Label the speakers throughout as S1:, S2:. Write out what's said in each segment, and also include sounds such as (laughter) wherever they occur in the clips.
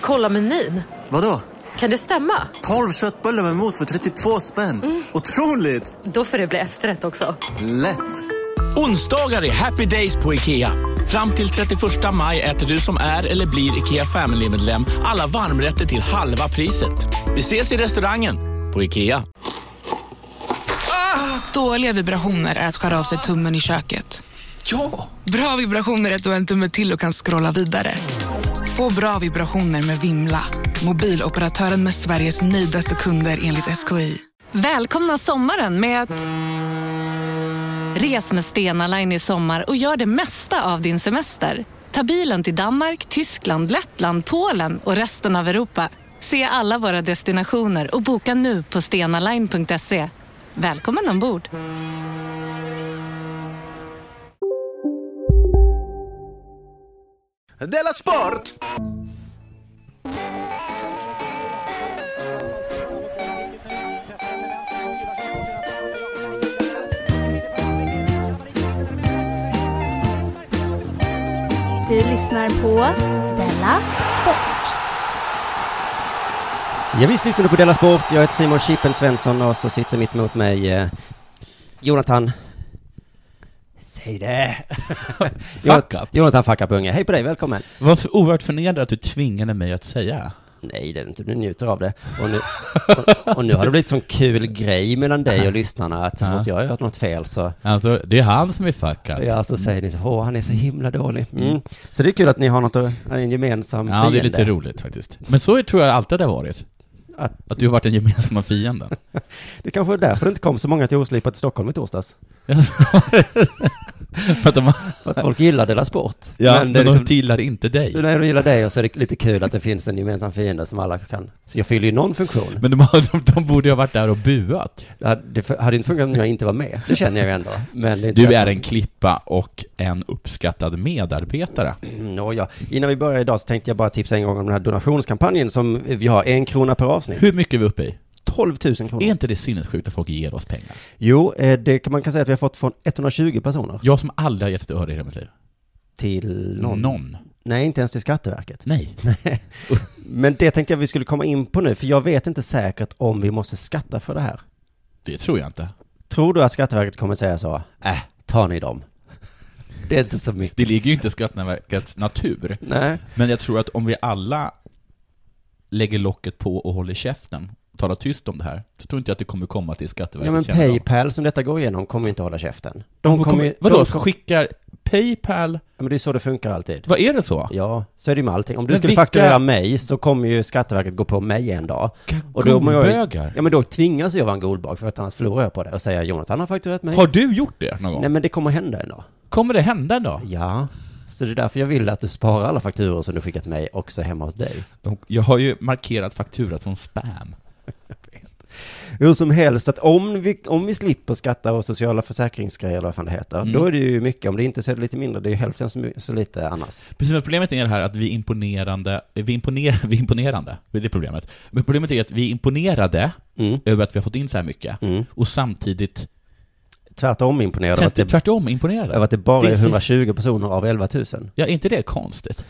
S1: Kolla menyn.
S2: Vadå?
S1: Kan det stämma?
S2: 12 köttbullar med mos för 32 spänn. Otroligt!
S1: Då får det bli efterrätt också.
S2: Lätt!
S3: Onsdagar är happy days på IKEA. Fram till 31 maj äter du som är eller blir IKEA Family-medlem alla varmrätter till halva priset. Vi ses i restaurangen på IKEA.
S4: Dåliga vibrationer är att skära av sig tummen i köket.
S3: Ja!
S4: Bra vibrationer är att du har en tumme till och kan scrolla vidare. Få bra vibrationer med Vimla. Mobiloperatören med Sveriges nöjdaste kunder enligt SKI.
S5: Välkomna sommaren med att... Res med Stena Line i sommar och gör det mesta av din semester. Ta bilen till Danmark, Tyskland, Lettland, Polen och resten av Europa. Se alla våra destinationer och boka nu på stenaline.se. Välkommen ombord!
S6: Della Sport!
S7: Du lyssnar på Della Sport.
S8: Ja, visst lyssnar du på Della Sport. Jag heter Simon Chippen Svensson och så sitter mitt emot mig eh, Jonathan... Säg det!
S9: Fuck
S8: Jonat-
S9: up.
S8: Jonathan Fackapunge. Hej på dig, välkommen!
S9: Vad för oerhört förnedrande att du tvingade mig att säga.
S8: Nej, det är inte. Du njuter av det. Och nu, och, och nu har det blivit sån kul grej mellan dig och lyssnarna att så fort jag har gjort något fel så...
S9: Alltså, det är han som är fuck up.
S8: Ja, så säger ni så åh, han är så himla dålig. Mm. Så det är kul att ni har något att, en gemensam
S9: Ja, det är
S8: fiende.
S9: lite roligt faktiskt. Men så är- tror jag alltid det har varit.
S8: Att-
S9: Att du har varit den gemensamma
S8: (laughs)
S9: fienden.
S8: Det kanske är därför det inte kom så många till oslipat i Stockholm i torsdags.
S9: Alltså, För att de,
S8: För att folk gillar Della Sport.
S9: ja,
S8: Men
S9: men
S8: det är
S9: de
S8: liksom-
S9: gillar inte dig.
S8: När de gillar dig och så är det lite kul att det finns en gemensam fiende som alla kan... Så jag fyller ju någon funktion.
S9: Men de, har- de, de borde ju ha varit där och buat.
S8: Det hade- Det f- hade inte funkat om jag inte var med. Det känner jag ju ändå. Men det inte
S9: Du är en klippa och en uppskattad medarbetare.
S8: Nå, ja. Mm, Innan vi börjar idag så tänkte jag bara tipsa en gång om den här donationskampanjen som vi har en krona per avsnitt.
S9: Hur mycket är vi uppe i?
S8: 12 000 kronor.
S9: Är inte det sinnessjukt att folk ger oss pengar?
S8: Jo, eh, det kan man kan säga att vi har fått från 120 personer
S9: Jag som aldrig har gett ett öre i hela mitt liv.
S8: till någon.
S9: Någon.
S8: Nej, inte ens till Skatteverket.
S9: Nej.
S8: Men det tänkte jag vi skulle komma in på nu, för jag vet inte säkert om vi måste skatta för det här.
S9: Det tror jag inte.
S8: Tror du att Skatteverket kommer säga så? Äh, tar ni dem? (laughs) Det är inte så mycket.
S9: Det ligger ju inte i Skatteverkets natur.
S8: Nej.
S9: Men jag tror att om vi alla lägger locket på och håller käften, talar tyst om det här, så tror inte jag att det kommer komma till
S8: Ja,
S9: Skatteverkets
S8: men
S9: kännedom.
S8: Paypal som detta går igenom kommer ju inte hålla käften.
S9: De kommer,
S8: ju-
S9: vadå,
S8: de
S9: de skickar Paypal?
S8: Ja, men det är så det funkar alltid.
S9: Vad är det så?
S8: Ja, så är det ju med allting. Om du
S9: Men
S8: skulle
S9: vilka-
S8: fakturera mig så kommer ju Skatteverket gå på mig en dag. må
S9: golbögar.
S8: jag, Ja men då tvingas jag vara en golbag för att annars förlorar jag på det och säga Jonathan har fakturerat mig.
S9: Har du gjort det någon gång?
S8: Nej men det kommer hända en dag.
S9: Kommer det hända en dag?
S8: Ja. Så det är därför jag vill att du sparar alla fakturor som du skickat till mig också hemma hos dig.
S9: De, jag har ju markerat faktura som spam.
S8: Hur som helst, att om vi, om vi slipper skatta och sociala försäkringsgrejer eller vad fan det heter, då är det ju mycket. Om det inte så är det lite mindre, det är ju hälften så, my- så lite annars.
S9: Precis, men problemet är det här att vi är imponerande, vi imponerar, (laughs) vi är imponerande, det är det problemet. Men problemet är att vi är imponerade
S8: Mm.
S9: över att vi har fått in så här mycket,
S8: Mm.
S9: och samtidigt
S8: Tvärtom imponerad av att det,
S9: tvärtom imponerade.
S8: över att det bara är
S9: Finns-
S8: 120 personer av 11 000.
S9: Ja, är inte det konstigt?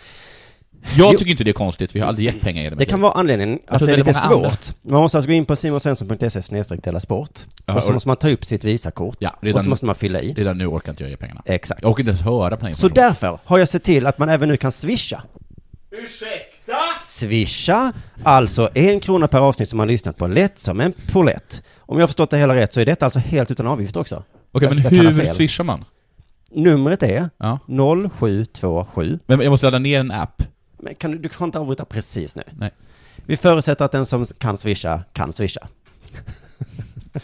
S9: Jag
S8: Jo.
S9: tycker inte det är konstigt, för jag har aldrig gett pengar i
S8: Det kan vara anledningen att
S9: tror
S8: det är
S9: det är
S8: lite
S9: många andra.
S8: svårt. Man måste alltså gå in på simonsvensson.se snedstreck dela sport.
S9: Ja,
S8: och så
S9: och-
S8: måste man ta upp sitt visakort.
S9: Ja, redan
S8: och så
S9: nu.
S8: måste man fylla i.
S9: Redan nu orkar inte jag ge pengarna.
S8: Exakt.
S9: Jag orkar inte ens höra på den här
S8: Så
S9: informationen.
S8: därför har jag sett till att man även nu kan swisha. Ursäkta? Swisha, alltså en krona per avsnitt som man lyssnat på, lätt som en polett. Om jag har förstått det hela rätt så är detta alltså helt utan avgift också.
S9: Okej, men
S8: Jag kan ha
S9: hur
S8: fel.
S9: swishar man?
S8: Numret är
S9: Ja.
S8: 0727.
S9: Men jag måste ladda ner en app.
S8: Men kan du, du får inte avbryta precis nu.
S9: Nej.
S8: Vi förutsätter att den som kan swisha, kan swisha.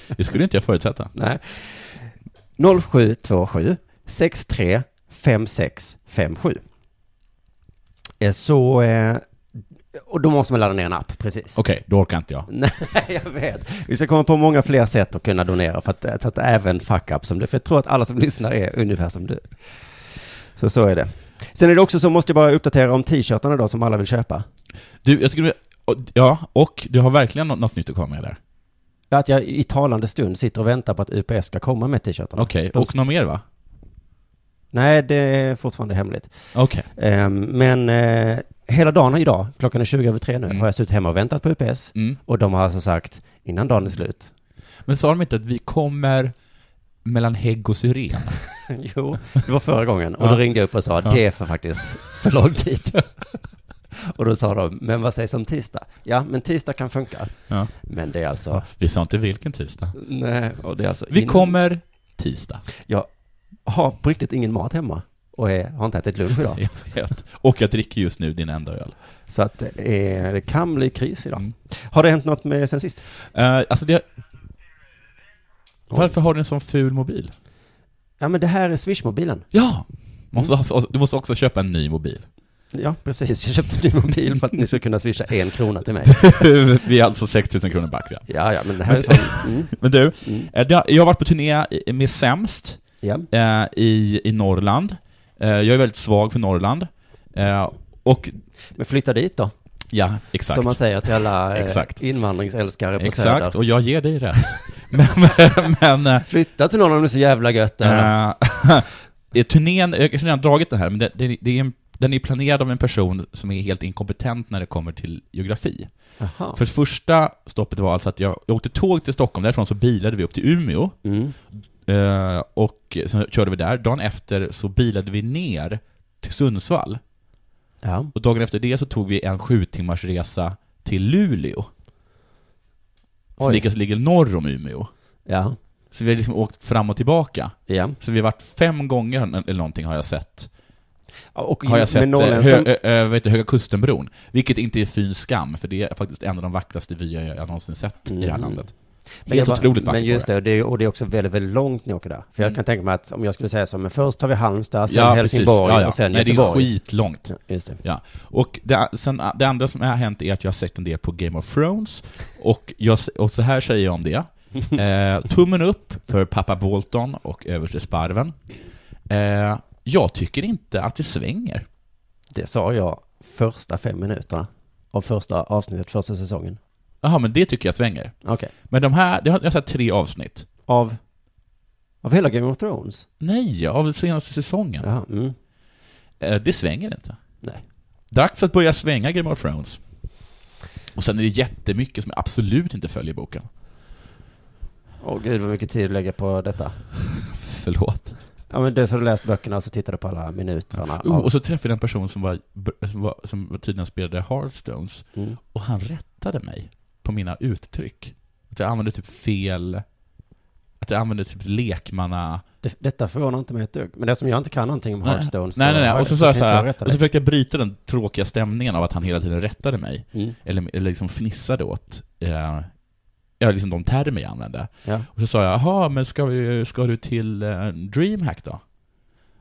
S9: Det skulle inte jag förutsätta.
S8: Nej. 0727 63 56 57. Eh, Så, eh, och då måste man ladda ner en app, precis.
S9: Okej, då orkar inte jag.
S8: (laughs) Nej, jag vet. Vi ska komma på många fler sätt att kunna donera för att, eh, så att även fuck up som du, för jag tror att alla som (laughs) lyssnar är ungefär som du. Så så är det. Sen är det också så, måste jag bara uppdatera om t-shirtarna då som alla vill köpa.
S9: Du, jag tycker du... Ja, och du har verkligen nå- något nytt att komma med där.
S8: Att jag i talande stund sitter och väntar på att UPS ska komma med t-shirtarna.
S9: Okej,
S8: De-
S9: och något mer va?
S8: Nej, det är fortfarande hemligt.
S9: Okej.
S8: Ehm, Men eh, hela dagen idag, klockan är 20 över tre nu, har jag suttit hemma och väntat på UPS.
S9: Mm.
S8: Och de har alltså sagt, innan dagen är slut. (laughs)
S9: Men sa de inte att vi kommer mellan hägg och syren?
S8: jo, det var förra gången. Och då ringde jag upp och sa, det är för faktiskt för lång tid. (laughs) och då sa de, men vad sägs om tisdag? Ja, men tisdag kan funka.
S9: Ja.
S8: Men det är alltså,
S9: Vi sa inte vilken tisdag.
S8: nej, och det är alltså
S9: Vi
S8: in-
S9: kommer tisdag.
S8: Jag har på riktigt ingen mat hemma. Och är, har inte ätit lunch idag.
S9: (laughs) Jag vet. Och jag dricker just nu din enda öl.
S8: Så att det, är, det kan bli kris idag.
S9: Mm.
S8: Har det hänt något med sen sist?
S9: Eh, alltså det... Varför har du en sån ful mobil?
S8: Ja, men det här är Swish-mobilen.
S9: Ja! Måste, alltså, du måste också köpa en ny (laughs) mobil.
S8: Ja, precis. Jag köpte en ny mobil för att ni ska kunna swisha en krona till mig.
S9: Vi är alltså 6 000 kronor back redan.
S8: Ja, ja, men det här är en sån... Mm,
S9: Men du,
S8: Mm.
S9: eh, det har- jag har varit på turné i- med Sämst
S8: ja.
S9: eh, i, i Norrland. Eh, Jag är väldigt svag för Norrland. Eh, Och,
S8: Men flytta dit då.
S9: ja, exakt.
S8: Som man säger till alla eh,
S9: Exakt.
S8: invandringsälskare på
S9: Exakt,
S8: Söder.
S9: och jag ger dig
S8: (laughs)
S9: rätt. men, men eh,
S8: Flytta till någon om det är så jävla gött där.
S9: Eh, (laughs) turnén, jag har redan dragit det här, men det, det, det är en, den är planerad av en person som är helt inkompetent när det kommer till geografi.
S8: Jaha.
S9: För det första stoppet var alltså att jag, jag åkte tåg till Stockholm, därifrån så bilade vi upp till Umeå,
S8: Mm.
S9: eh, och sen körde vi där. Dagen efter så bilade vi ner till Sundsvall,
S8: Ja.
S9: och dagen efter det så tog vi en sju timmars resa till Luleå. Som
S8: Oj.
S9: ligger, ligger norr om Umeå.
S8: Ja.
S9: Så vi har liksom åkt fram och tillbaka.
S8: Ja.
S9: Så vi har varit fem gånger, eller någonting har jag sett,
S8: Och
S9: har jag sett
S8: med
S9: eh,
S8: norrländska...
S9: hö, ö, ö, vet du, Höga Kustenbron, vilket inte är fin skam, för det är faktiskt en av de vackraste vyer jag, jag någonsin sett i det här
S8: Mm.
S9: landet.
S8: Men
S9: Helt
S8: jag bara-
S9: otroligt vackert
S8: Men just
S9: var
S8: det, och det, är- och det är också väldigt, väldigt långt ni åker där. För jag
S9: Mm.
S8: kan tänka mig att om jag skulle säga så, men först tar vi Halmstad, sen
S9: Ja,
S8: Helsingborg
S9: precis. Ja, ja.
S8: och sen
S9: Nej, det är
S8: Göteborg.
S9: skitlångt.
S8: Ja, Just det.
S9: Ja. Och det, sen, det andra som har hänt är att jag har sett en del på Game of Thrones, och, jag, och så här säger jag om det. Eh, tummen upp för pappa Bolton och överste Sparven. Eh, jag tycker inte att det svänger.
S8: Det sa jag första fem minuterna av första avsnittet, första säsongen.
S9: Jaha, men det tycker jag svänger.
S8: Okej.
S9: Men de här, det har, jag har sett tre avsnitt.
S8: Av? Av hela Game of Thrones?
S9: Nej, av senaste säsongen.
S8: Jaha, mm.
S9: Eh, Det svänger inte.
S8: Nej.
S9: Dags att börja svänga Game of Thrones. Och sen är det jättemycket som jag absolut inte följer boken.
S8: Åh gud vad mycket tid du lägger på detta.
S9: Förlåt.
S8: Ja men dels har du läst böckerna och så tittar du på alla minuterna.
S9: Oh,
S8: av-
S9: och så träffade jag en person som, var, som, var, som tydligen spelade Hearthstones.
S8: Mm.
S9: Och han rättade mig på mina uttryck. Att jag använde typ fel... Att jag använde typ lekmanna...
S8: Det, detta förvånar inte mig ett dugg. Men det som jag inte kan någonting om
S9: Nej.
S8: Hearthstone
S9: nej, nej, nej. Och så sa jag så
S8: kan inte
S9: här,
S8: rätta
S9: och så
S8: dig.
S9: försökte jag bryta den tråkiga stämningen av att han hela tiden rättade mig.
S8: Mm.
S9: eller, eller liksom fnissade åt eh, ja, liksom de termer jag använde.
S8: Ja.
S9: Och så sa jag, jaha, men ska, vi, ska du till eh, DreamHack då?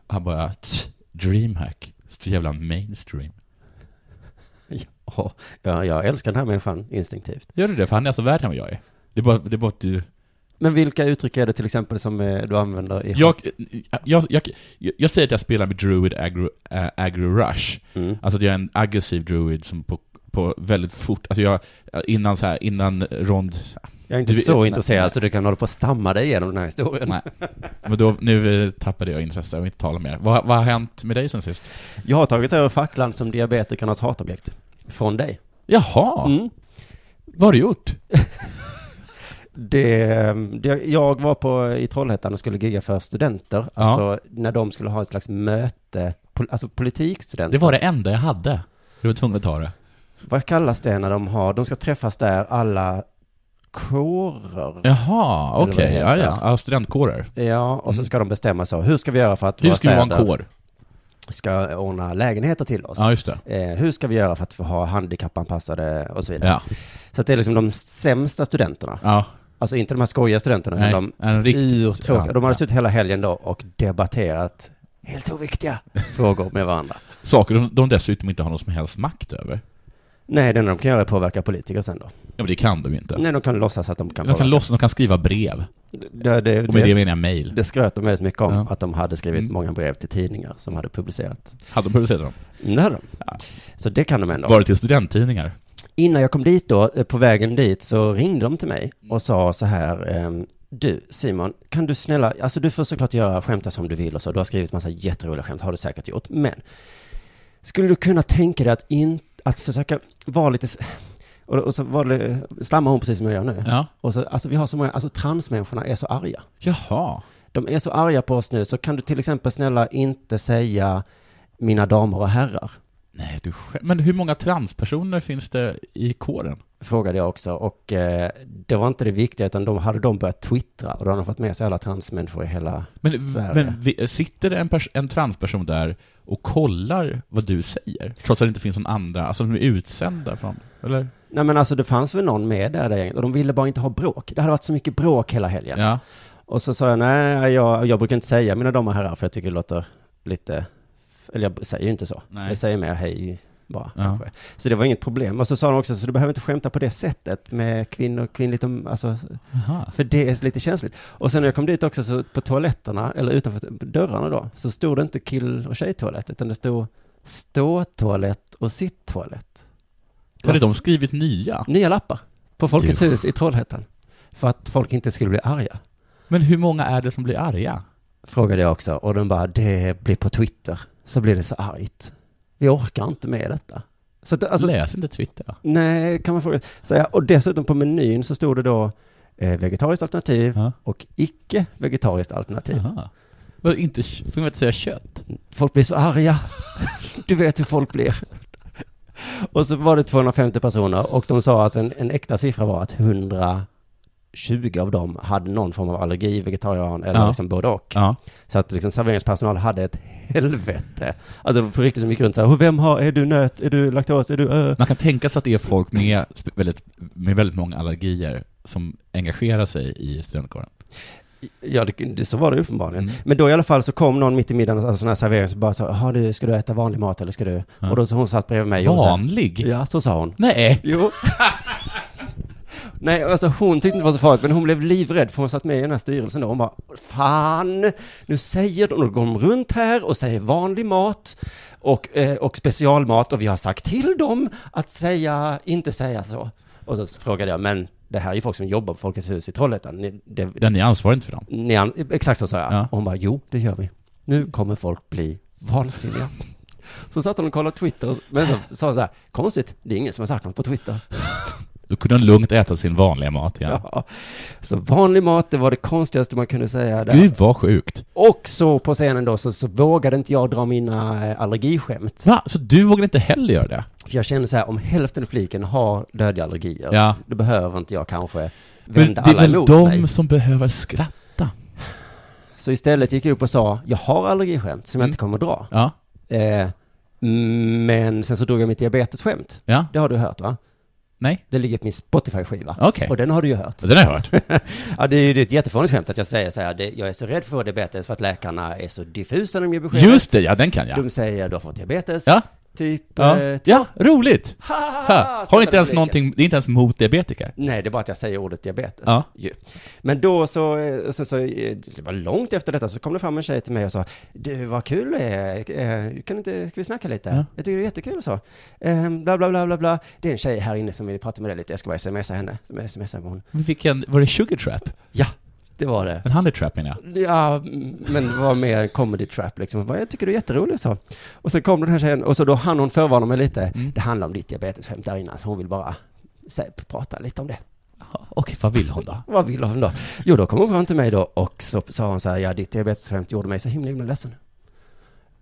S9: Han bara, "Tch, DreamHack, så jävla mainstream.
S8: Åh, ja, jag älskar den här människan instinktivt.
S9: Gör du det? För han är alltså värre än vad jag är. Det är bara, det är bara att du...
S8: Men vilka uttryck är det till exempel som eh, du använder i...
S9: Jag, jag, jag, jag, jag säger att jag spelar med Druid Agro, äh, agro Rush.
S8: Mm.
S9: Alltså att jag är en aggressiv druid som på, på väldigt fort, alltså jag, innan så här, innan (laughs) rond,
S8: Jag är inte
S9: Du-
S8: så
S9: nej,
S8: intresserad
S9: nej.
S8: så du kan hålla på och stamma dig igenom den här historien.
S9: Nej. Men då, nu eh, tappade jag intresse, jag vill inte tala mer. Vad, vad har hänt med dig sen sist?
S8: Jag har tagit över facklan som diabetikernas hatobjekt. Från dig.
S9: Jaha,
S8: Mm.
S9: vad har du gjort?
S8: Det, det, jag var på, i Trollhättan och skulle gigga för studenter.
S9: Ja.
S8: Alltså när de skulle ha ett slags möte, pol, alltså politikstudenter.
S9: Det var det enda jag hade. Du var tvungen att ta det.
S8: Vad kallas det när de har, de ska träffas där alla kårer.
S9: Jaha,
S8: Eller vad
S9: okej.
S8: det
S9: Ja,
S8: heter.
S9: ja. ja, studentkårer.
S8: Ja, och så ska de bestämma så. Hur ska vi göra för att
S9: Mm. Hur
S8: våra
S9: ska vi vara
S8: städer
S9: en kår?
S8: ska ordna lägenheter till oss?
S9: Ja, just det.
S8: Eh, hur ska vi göra för att få ha handikappanpassade och så vidare?
S9: Ja,
S8: Så att det är liksom de sämsta studenterna.
S9: ja.
S8: Alltså inte de här skojiga studenterna,
S9: Nej,
S8: utan de
S9: en riktigt...
S8: urtråkiga. De hade
S9: ja.
S8: suttit hela helgen då och debatterat helt oviktiga frågor med varandra.
S9: Saker de, de dessutom inte har någon som helst makt över.
S8: Nej, det enda de kan göra är påverka politiker sen då.
S9: Ja, men det kan de ju inte.
S8: Nej, de kan låtsas att de kan
S9: De kan
S8: påverka.
S9: låtsas, de kan skriva brev.
S8: Det, det,
S9: Och med det
S8: det,
S9: menar jag mejl.
S8: det skröt de väldigt mycket om,
S9: Ja.
S8: att de hade skrivit
S9: Mm.
S8: många brev till tidningar som hade publicerat.
S9: Hade de publicerat dem?
S8: Det hade de. Så det kan de ändå.
S9: Var det till studenttidningar?
S8: Innan jag kom dit då, eh, på vägen dit, så ringde de till mig och sa så här, ehm, du Simon, kan du snälla, alltså du får såklart göra skämta som du vill och så, du har skrivit massa jätteroliga skämt, har du säkert gjort, men Skulle du kunna tänka dig att, in, att försöka vara lite... s- Och, och så var det, stammar hon precis som jag gör nu.
S9: Ja.
S8: Och så, alltså vi har så många, alltså transmänniskorna är så arga.
S9: Jaha.
S8: De är så arga på oss nu, så kan du till exempel snälla inte säga mina damer och herrar?
S9: Nej, du skä- Men hur många transpersoner finns det i kåren?
S8: Frågade jag också och eh, det var inte det viktiga utan de hade de börjat twittra och då hade de fått med sig alla transmänniskor i hela
S9: Men,
S8: Sverige.
S9: men vi- sitter det en, pers- en transperson där och kollar vad du säger? Trots att det inte finns någon andra, alltså de är utsända från, eller?
S8: Nej men alltså det fanns väl någon med där, där gänget, och de ville bara inte ha bråk. Det hade varit så mycket bråk hela helgen.
S9: Ja.
S8: Och så sa jag nej, jag, jag brukar inte säga mina damer och herrar för jag tycker det låter lite, eller jag säger ju inte så.
S9: Nej.
S8: Jag säger mer hej bara
S9: Ja.
S8: kanske. Så det var inget problem. Och så sa de också, så du behöver inte skämta på det sättet med kvinnor, kvinnligt om, alltså,
S9: Jaha.
S8: för det är lite känsligt. Och sen när jag kom dit också så på toaletterna, eller utanför dörrarna då, så stod det inte kill och tjejtoalett, utan det stod ståtoalett och sitttoalett.
S9: Hade de skrivit nya?
S8: Nya lappar på Folkets
S9: Du.
S8: hus i Trollhättan. För att folk inte skulle bli arga.
S9: Men hur många är det som blir arga?
S8: Frågade jag också och de bara, det blir på Twitter. Så blir det så argt. Vi orkar inte med detta. Så att, alltså,
S9: Läs inte Twitter då.
S8: nej, kan man fråga. Så jag, och dessutom på menyn så stod det då eh, vegetariskt alternativ
S9: Ja.
S8: och icke vegetariskt alternativ.
S9: Jaha. Vad, inte, får man inte säga kött?
S8: Folk blir så arga. (laughs) Du vet hur folk blir. Och så var det 250 personer och de sa att en, en äkta siffra var att 120 av dem hade någon form av allergi, vegetarian eller
S9: Ja.
S8: liksom både och.
S9: Ja.
S8: Så att liksom serveringspersonal hade ett helvete. Alltså på riktigt, de gick runt så här, vem har, är du nöt, är du laktos, är du ö?
S9: Man kan tänka sig att det är folk med sp- väldigt, med väldigt många allergier som engagerar sig i studentkåren.
S8: Ja, det, det, så var det uppenbarligen.
S9: Mm.
S8: Men då i alla fall så kom någon mitt i middagen, alltså sån här servering, så bara sa, "Jaha, du, ska du äta vanlig mat eller ska du?
S9: Ja.
S8: Och då så hon satt bredvid mig. och hon sa-
S9: Vanlig?
S8: Ja, så sa hon.
S9: Nej!
S8: Jo. Nej, alltså hon tyckte inte det var så farligt, men hon blev livrädd för hon satt med i den här styrelsen då. Hon bara, fan, nu säger de, och då går de runt här och säger vanlig mat och, eh, och specialmat och vi har sagt till dem att säga, inte säga så. Och så frågade jag, men det här är ju folk som jobbar på Folkets hus i Trollhättan. Ni, det,
S9: Den är ansvarig inte för dem.
S8: ni, an- exakt så sa jag.
S9: Ja.
S8: Och hon bara, jo, det gör vi. Nu kommer folk bli vansinniga. Så satt hon och kollade Twitter, och- men så sa hon så här, konstigt, det är ingen som har sagt något på Twitter.
S9: Då kunde de lugnt äta sin vanliga mat igen.
S8: Ja. Så vanlig mat, det var det konstigaste man kunde säga där.
S9: Gud vad sjukt!
S8: Och så på scenen då så, så vågade inte jag dra mina eh, allergiskämt.
S9: Va? Så du vågar inte heller göra det?
S8: För jag kände så här, om hälften av publiken har dödliga allergier,
S9: Ja.
S8: då behöver inte jag kanske
S9: Men det
S8: vända
S9: är
S8: alla
S9: väl
S8: emot
S9: de
S8: mig.
S9: som behöver skratta?
S8: Så istället gick jag upp och sa, jag har allergiskämt som jag
S9: Mm.
S8: inte kommer att dra.
S9: Ja,
S8: Eh, men sen så drog jag mitt diabetesskämt.
S9: ja,
S8: Det har du hört va?
S9: nej,
S8: Det ligger på min Spotify-skiva.
S9: okej.
S8: Och den har du ju hört.
S9: Den har jag hört.
S8: Ja, det är ju det är ett jättefånigt skämt att jag säger så här, det, jag är så rädd för diabetes för att läkarna är så diffusa när de ger besked.
S9: (laughs) Just det, ja den kan jag.
S8: De säger du har fått diabetes,
S9: Ja,
S8: typ...
S9: ja,
S8: eh, t-
S9: ja roligt!
S8: ha, ha, ha,
S9: Ha. Har
S8: skrattar
S9: inte ens
S8: publiken.
S9: någonting, det är inte ens mot diabetiker.
S8: Nej, det är bara att jag säger ordet diabetes.
S9: Ja.
S8: Ju. Men då så, eh, sen så, eh, det var långt efter detta, så kom det fram en tjej till mig och sa, du vad kul det är, Eh, kan inte, ska vi snacka lite?
S9: Ja.
S8: Jag tycker det är jättekul och så. Eh, Bla, bla, bla, bla, bla. Det är en tjej här inne som vill prata med dig lite, jag ska bara smsa henne. Som smsar med hon.
S9: Vilken, var det Sugar Trap?
S8: Ja, det var det.
S9: En honey trap menar jag.
S8: Ja, men det var mer en comedy trap liksom. Jag, bara, jag tycker du är jätterolig så. Och sen kom den här tjejen och så då hann hon förvarna mig lite. Det handlar om ditt diabetesskämt där innan, så hon vill bara säga, prata lite om det.
S9: Ja, Okej, vad vill hon då?
S8: Vad vill hon då? Jo, då kom hon fram till mig då och så sa hon så här, ja ditt diabetesskämt gjorde mig så himla himla ledsen.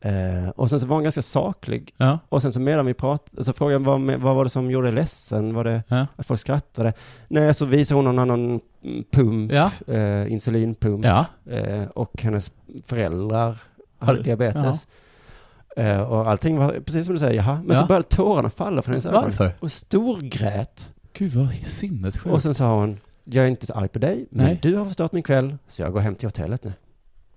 S8: Eh, och sen så var hon ganska saklig.
S9: Ja,
S8: Och sen så medan vi pratade, så frågade jag vad, med- vad var det som gjorde dig ledsen? Var det
S9: ja,
S8: att folk skrattade? Nej, så visade hon någon annan mm, pump,
S9: ja.
S8: eh, insulinpump.
S9: ja.
S8: Eh, och hennes föräldrar
S9: Har
S8: hade
S9: du-
S8: diabetes. Eh, och allting var precis som du säger, jaha. Men
S9: Ja.
S8: så började tårarna falla från hennes ögon.
S9: Varför?
S8: Och storgrät.
S9: Gud vad sinnessjukt.
S8: Och sen sa hon, jag är inte så arg på dig, men
S9: Nej.
S8: du har förstört min kväll, så jag går hem till hotellet nu.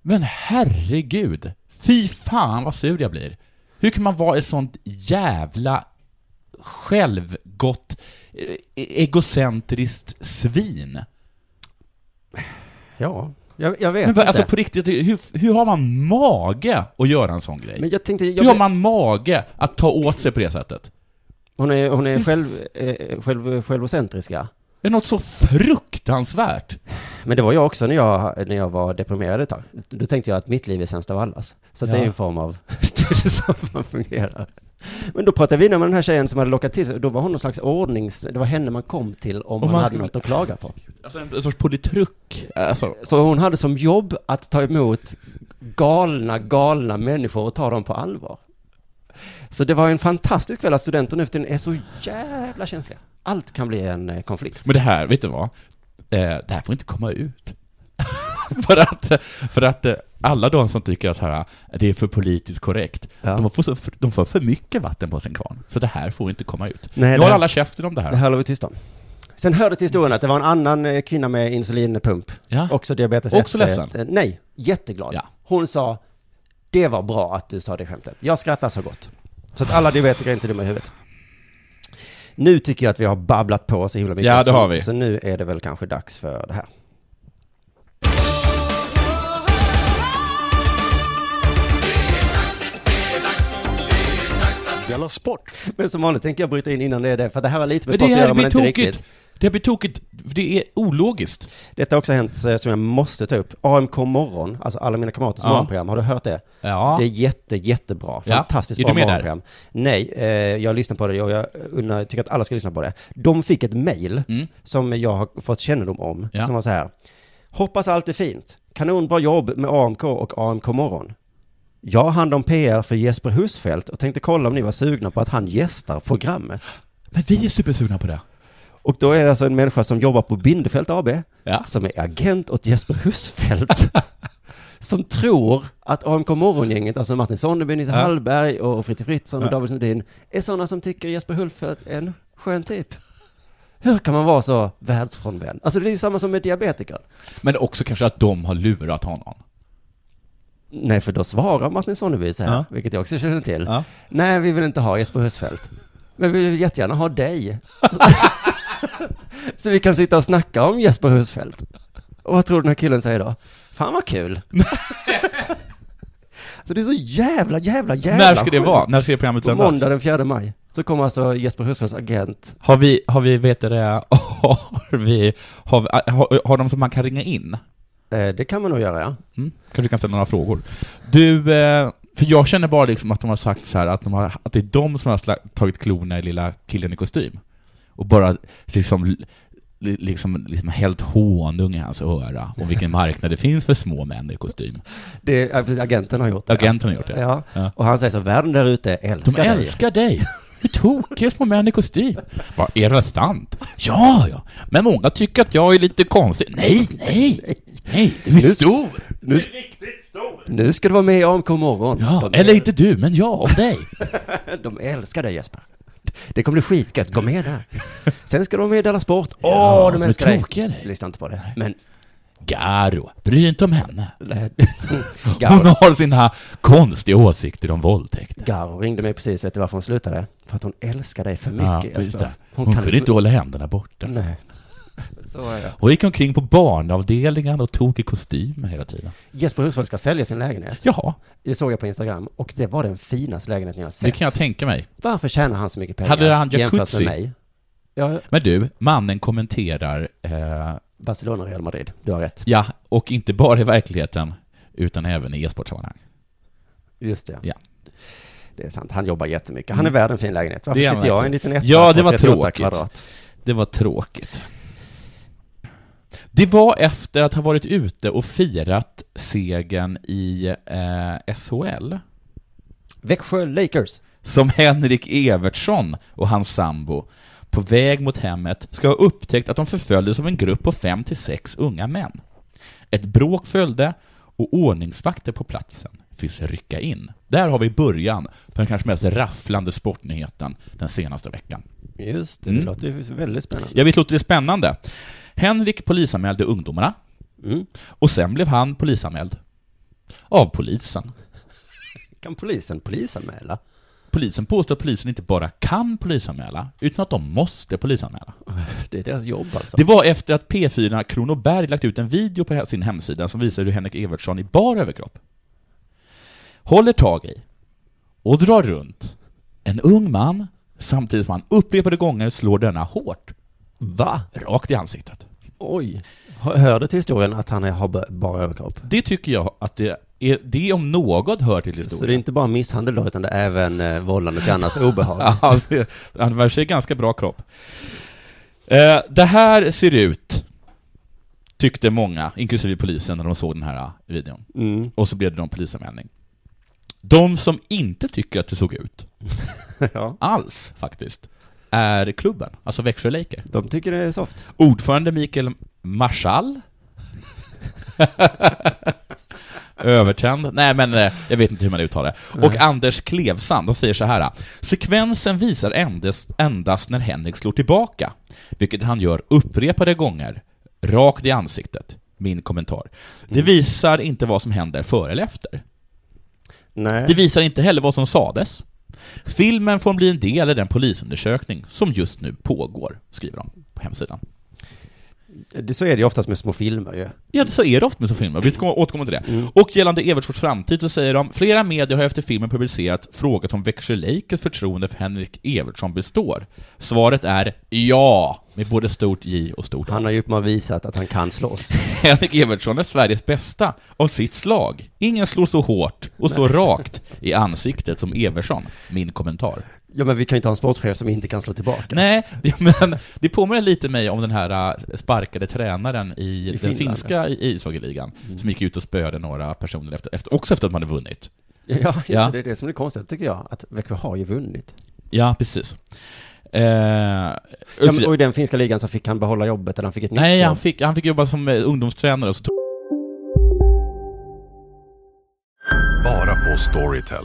S9: Men herregud! Fy fan vad sur jag blir. Hur kan man vara ett sånt jävla självgott, eh, egocentriskt svin?
S8: Ja, jag, jag vet
S9: Men,
S8: inte.
S9: alltså på riktigt, hur, hur har man mage att göra en sån grej?
S8: men jag tänkte, jag,
S9: hur har man mage att ta åt sig på det sättet?
S8: hon är, hon är själv, eh, själv, självocentriska.
S9: Det är något så fruktansvärt.
S8: Men det var jag också när jag, när jag var deprimerad ett tag. Då tänkte jag att mitt liv är sämst av allas. Så att det är
S9: Ja.
S8: en form av, (laughs) det är så man fungerar. Men då pratade vi vidare med den här tjejen som hade lockat till sig. Då var hon någon slags ordnings... Det var henne man kom till om man,
S9: man
S8: hade
S9: skulle-
S8: något att klaga på.
S9: Alltså en, en sorts politruk. Alltså,
S8: Så hon hade som jobb att ta emot galna, galna människor och ta dem på allvar. Så det var en fantastisk kväll att studenter nu för tiden är så jävla känsliga. Allt kan bli en eh, konflikt.
S9: men det här, vet du vad? Eh, det här får inte komma ut. (laughs) för att, för att eh, alla de som tycker att så här, det är för politiskt korrekt,
S8: Ja.
S9: de, får så, de får för mycket vatten på sin kvarn. Så det här får inte komma ut.
S8: Nej,
S9: nu
S8: det
S9: har
S8: här-
S9: alla käften om det här.
S8: Det här håller vi tyst om. Sen hörde till historien att det var en annan eh, kvinna med insulinpump.
S9: Ja.
S8: Också diabetes
S9: Också
S8: 1.
S9: ledsen.
S8: Eh, Nej, jätteglad.
S9: Ja.
S8: Hon sa, det var bra att du sa det skämtet. Jag skrattar så gott. Så att alla diabetiker är inte dumma i huvudet. Nu tycker jag att vi har babblat på så himla mycket.
S9: Ja, det
S8: så,
S9: har vi.
S8: Så nu är det väl kanske dags för det här.
S2: Della Sport.
S8: Men som vanligt tänker jag bryta in innan det är det, för det här har lite med
S9: Men
S8: sport
S9: det
S8: att göra,
S9: här
S8: men
S9: blir
S8: inte riktigt.
S9: tokigt. Det här blir tokigt, för det är ologiskt.
S8: Detta har också hänt eh, som jag måste ta upp. AMK morgon, alltså alla mina kamraters
S9: Ja.
S8: morgonprogram, har du hört det?
S9: Ja.
S8: Det är jätte, jättebra.
S9: Ja.
S8: Fantastiskt
S9: Är
S8: bra
S9: du med där?
S8: morgonprogram. Nej, eh, jag lyssnar på det och jag undrar, tycker att alla ska lyssna på det. De fick ett mejl som jag har fått kännedom om,
S9: Mm. Ja.
S8: som var så här. Hoppas allt är fint. Kanonbra jobb med AMK och AMK morgon. Jag har hand om PR för Jesper Husfeldt och tänkte kolla om ni var sugna på att han gästar programmet.
S9: Men vi är supersugna på det.
S8: Och då är det alltså en människa som jobbar på Bindefält AB,
S9: Ja.
S8: som är agent åt Jesper
S9: (laughs)
S8: Husfeldt, som tror att AMK Morgongänget, alltså Martin Sonneby, Nisse
S9: Ja.
S8: Hallberg och Fritte Fritzson och
S9: Ja.
S8: David Sundin, är sådana som tycker Jesper Husfeldt är en skön typ. Hur kan man vara så världsfrånvänd? Alltså det är ju samma som med diabetiker.
S9: Men också kanske att de har lurat honom.
S8: Nej, för då svarar Martin Sonneby så här,
S9: Ja.
S8: vilket jag också känner till.
S9: Ja.
S8: Nej, vi vill inte ha Jesper Husfeldt. Men vi vill jättegärna
S9: (laughs)
S8: ha dig. så vi kan sitta och snacka om Jesper Husfeldt. Och vad tror du den här killen säger då? Fan vad
S9: (laughs)
S8: kul. så det är så jävla, jävla, jävla
S9: När ska det
S8: sjukt.
S9: vara? När ska det programmet
S8: På
S9: sändas?
S8: måndag den 4 maj. Så kommer alltså Jesper Husfeldts agent.
S9: Har vi, har vi, vet du det, (laughs) har vi, har, vi- har, har de som man kan ringa in?
S8: Eh, det kan man nog göra, ja.
S9: Mm. Kanske kan ställa några frågor. Du, eh, för jag känner bara liksom att de har sagt så här att, de har, att det är de som har sla- tagit klorna i lilla killen i kostym. Och bara liksom, li- liksom, liksom hällt honung i hans öra om vilken marknad det finns för små män i kostym.
S8: Det, ja, precis, agenten har gjort det.
S9: Agenten har gjort
S8: ja.
S9: det.
S8: Ja.
S9: Ja.
S8: och han säger så, världen där ute
S9: De
S8: älskar dig.
S9: älskar dig. Hur tokiga små män i kostym. Bara, är det sant? Ja, ja. Men många tycker att jag är lite konstig. Nej, nej. Nej, du är
S8: Nu-
S9: stor.
S8: Nu, nu ska du vara med i AMK morgon.
S9: Ja,
S8: De-
S9: eller inte du, men jag om dig.
S8: De älskar dig Jesper. Det kommer bli skitgött, gå med där. Sen ska de vara med i Della Sport. Åh,
S9: Ja,
S8: de
S9: de är
S8: älskar dig.
S9: tokiga, dig.
S8: Lyssna inte på det. Men,
S9: Garo, bry dig inte om henne. (laughs)
S8: nej.
S9: Hon
S8: Garo,
S9: har sina konstiga åsikter om våldtäkt.
S8: Garo ringde mig precis, vet du varför hon slutade? För att hon älskar dig för mycket alltså.
S9: Ja, just
S8: Jesper.
S9: det. Hon kunde inte hålla händerna borta.
S8: Nej. Så är det.
S9: Hon gick omkring på barnavdelningen och tog i kostym hela tiden.
S8: Jesper Husfeldt ska sälja sin lägenhet.
S9: Jaha,
S8: Det såg jag på Instagram. Och det var den finaste lägenheten jag har
S9: det
S8: sett.
S9: kan jag tänka mig.
S8: Varför tjänar han så mycket pengar
S9: Hade han
S8: jämfört med
S9: jacuzzi?
S8: mig? Ja,
S9: Men du, mannen kommenterar eh,
S8: Barcelona och Real Madrid. Du har rätt.
S9: Ja, och inte bara i verkligheten, utan även i e-sportsammanhang.
S8: Just det.
S9: Ja. Mm.
S8: Det är sant. Han jobbar jättemycket. Han är värd en fin lägenhet. Varför
S9: Det är han
S8: sitter jag i en liten
S9: verkligen.
S8: etta
S9: Ja, det
S8: på
S9: var
S8: 38
S9: tråkigt.
S8: kvadrat?
S9: Det var tråkigt. Det var efter att ha varit ute och firat segern i eh, SHL,
S8: Växjö Lakers.
S9: som Henrik Evertsson och hans sambo på väg mot hemmet ska ha upptäckt att de förföljdes av en grupp på fem till sex unga män. Ett bråk följde och ordningsvakter på platsen finns rycka in. Där har vi början på den kanske mest rafflande sportnyheten den senaste veckan.
S8: Just det,
S9: Mm.
S8: det låter ju väldigt spännande.
S9: Ja, visst låter det spännande? Henrik polisanmälde ungdomarna
S8: Mm.
S9: och sen blev han polisanmäld. Av polisen.
S8: Kan polisen polisanmäla?
S9: Polisen påstår att polisen inte bara kan polisanmäla, utan att de måste polisanmäla.
S8: Det är deras jobb alltså.
S9: Det var efter att P4 Kronoberg lagt ut en video på sin hemsida som visar hur Henrik Evertsson i bar överkropp håller tag i och drar runt en ung man samtidigt som han upprepade gånger slår denna hårt. Va? Rakt i ansiktet.
S8: Oj. Hör det till historien att han har b- bara överkropp?
S9: Det tycker jag att det är, det om något hör till
S8: Så det är
S9: historien.
S8: inte bara misshandel då, utan det är även eh, vållande till annans obehag?
S9: (laughs) Ja, det- han verkar sig ganska bra kropp. Eh, det här ser ut, tyckte många, inklusive polisen, när de såg den här eh, videon.
S8: Mm.
S9: Och så blev det någon polisanmälning. De som inte tycker att det såg ut,
S8: Ja.
S9: alls faktiskt, är klubben, alltså Växjö Laker.
S8: De tycker det är soft.
S9: Ordförande Mikael Marschall. (laughs) Övertänd. Nej men eh, jag vet inte hur man uttalar det. Och Anders Klevsand, de säger så här. Sekvensen visar endast, endast när Henrik slår tillbaka, vilket han gör upprepade gånger, rakt i ansiktet. Min kommentar. Det visar inte vad som händer före eller efter. Det
S8: Nej.
S9: visar inte heller vad som sades. Filmen får bli en del i den polisundersökning som just nu pågår, skriver de på hemsidan.
S8: Det, så är det ju oftast med små filmer ju.
S9: Ja, så är det ofta med så filmer. Vi ska återkomma till det. Och gällande Evertsfors framtid så säger de flera medier har efter filmen publicerat frågat om Växjö Lakers förtroende för Henrik Evertsson består. Svaret är ja, med både stort J och stort
S8: Han
S9: A.
S8: har ju uppenbarligen visat att han kan slåss.
S9: Henrik Evertsson är Sveriges bästa av sitt slag. Ingen slår så hårt och så rakt i ansiktet som Evertsson. Min kommentar.
S8: Ja, men vi kan ju inte ha en sportchef som inte kan slå tillbaka.
S9: Nej, det, (laughs) men det påminner lite mig om den här äh, sparkade tränaren i, den
S8: Finland, Mm.
S9: finska i- ishockeyligan, som gick ut och spöade några personer, efter, efter, också efter att man hade vunnit.
S8: Ja, just
S9: Ja.
S8: det. det är det som är konstigt tycker jag, att Växjö har ju vunnit.
S9: Ja, precis. Eh,
S8: Ja, men, och i den finska ligan så fick han behålla jobbet, eller han fick ett nytt
S9: nej, han
S8: jobb.
S9: fick, han fick jobba som eh, ungdomstränare och så tog
S6: Bara på Storytel.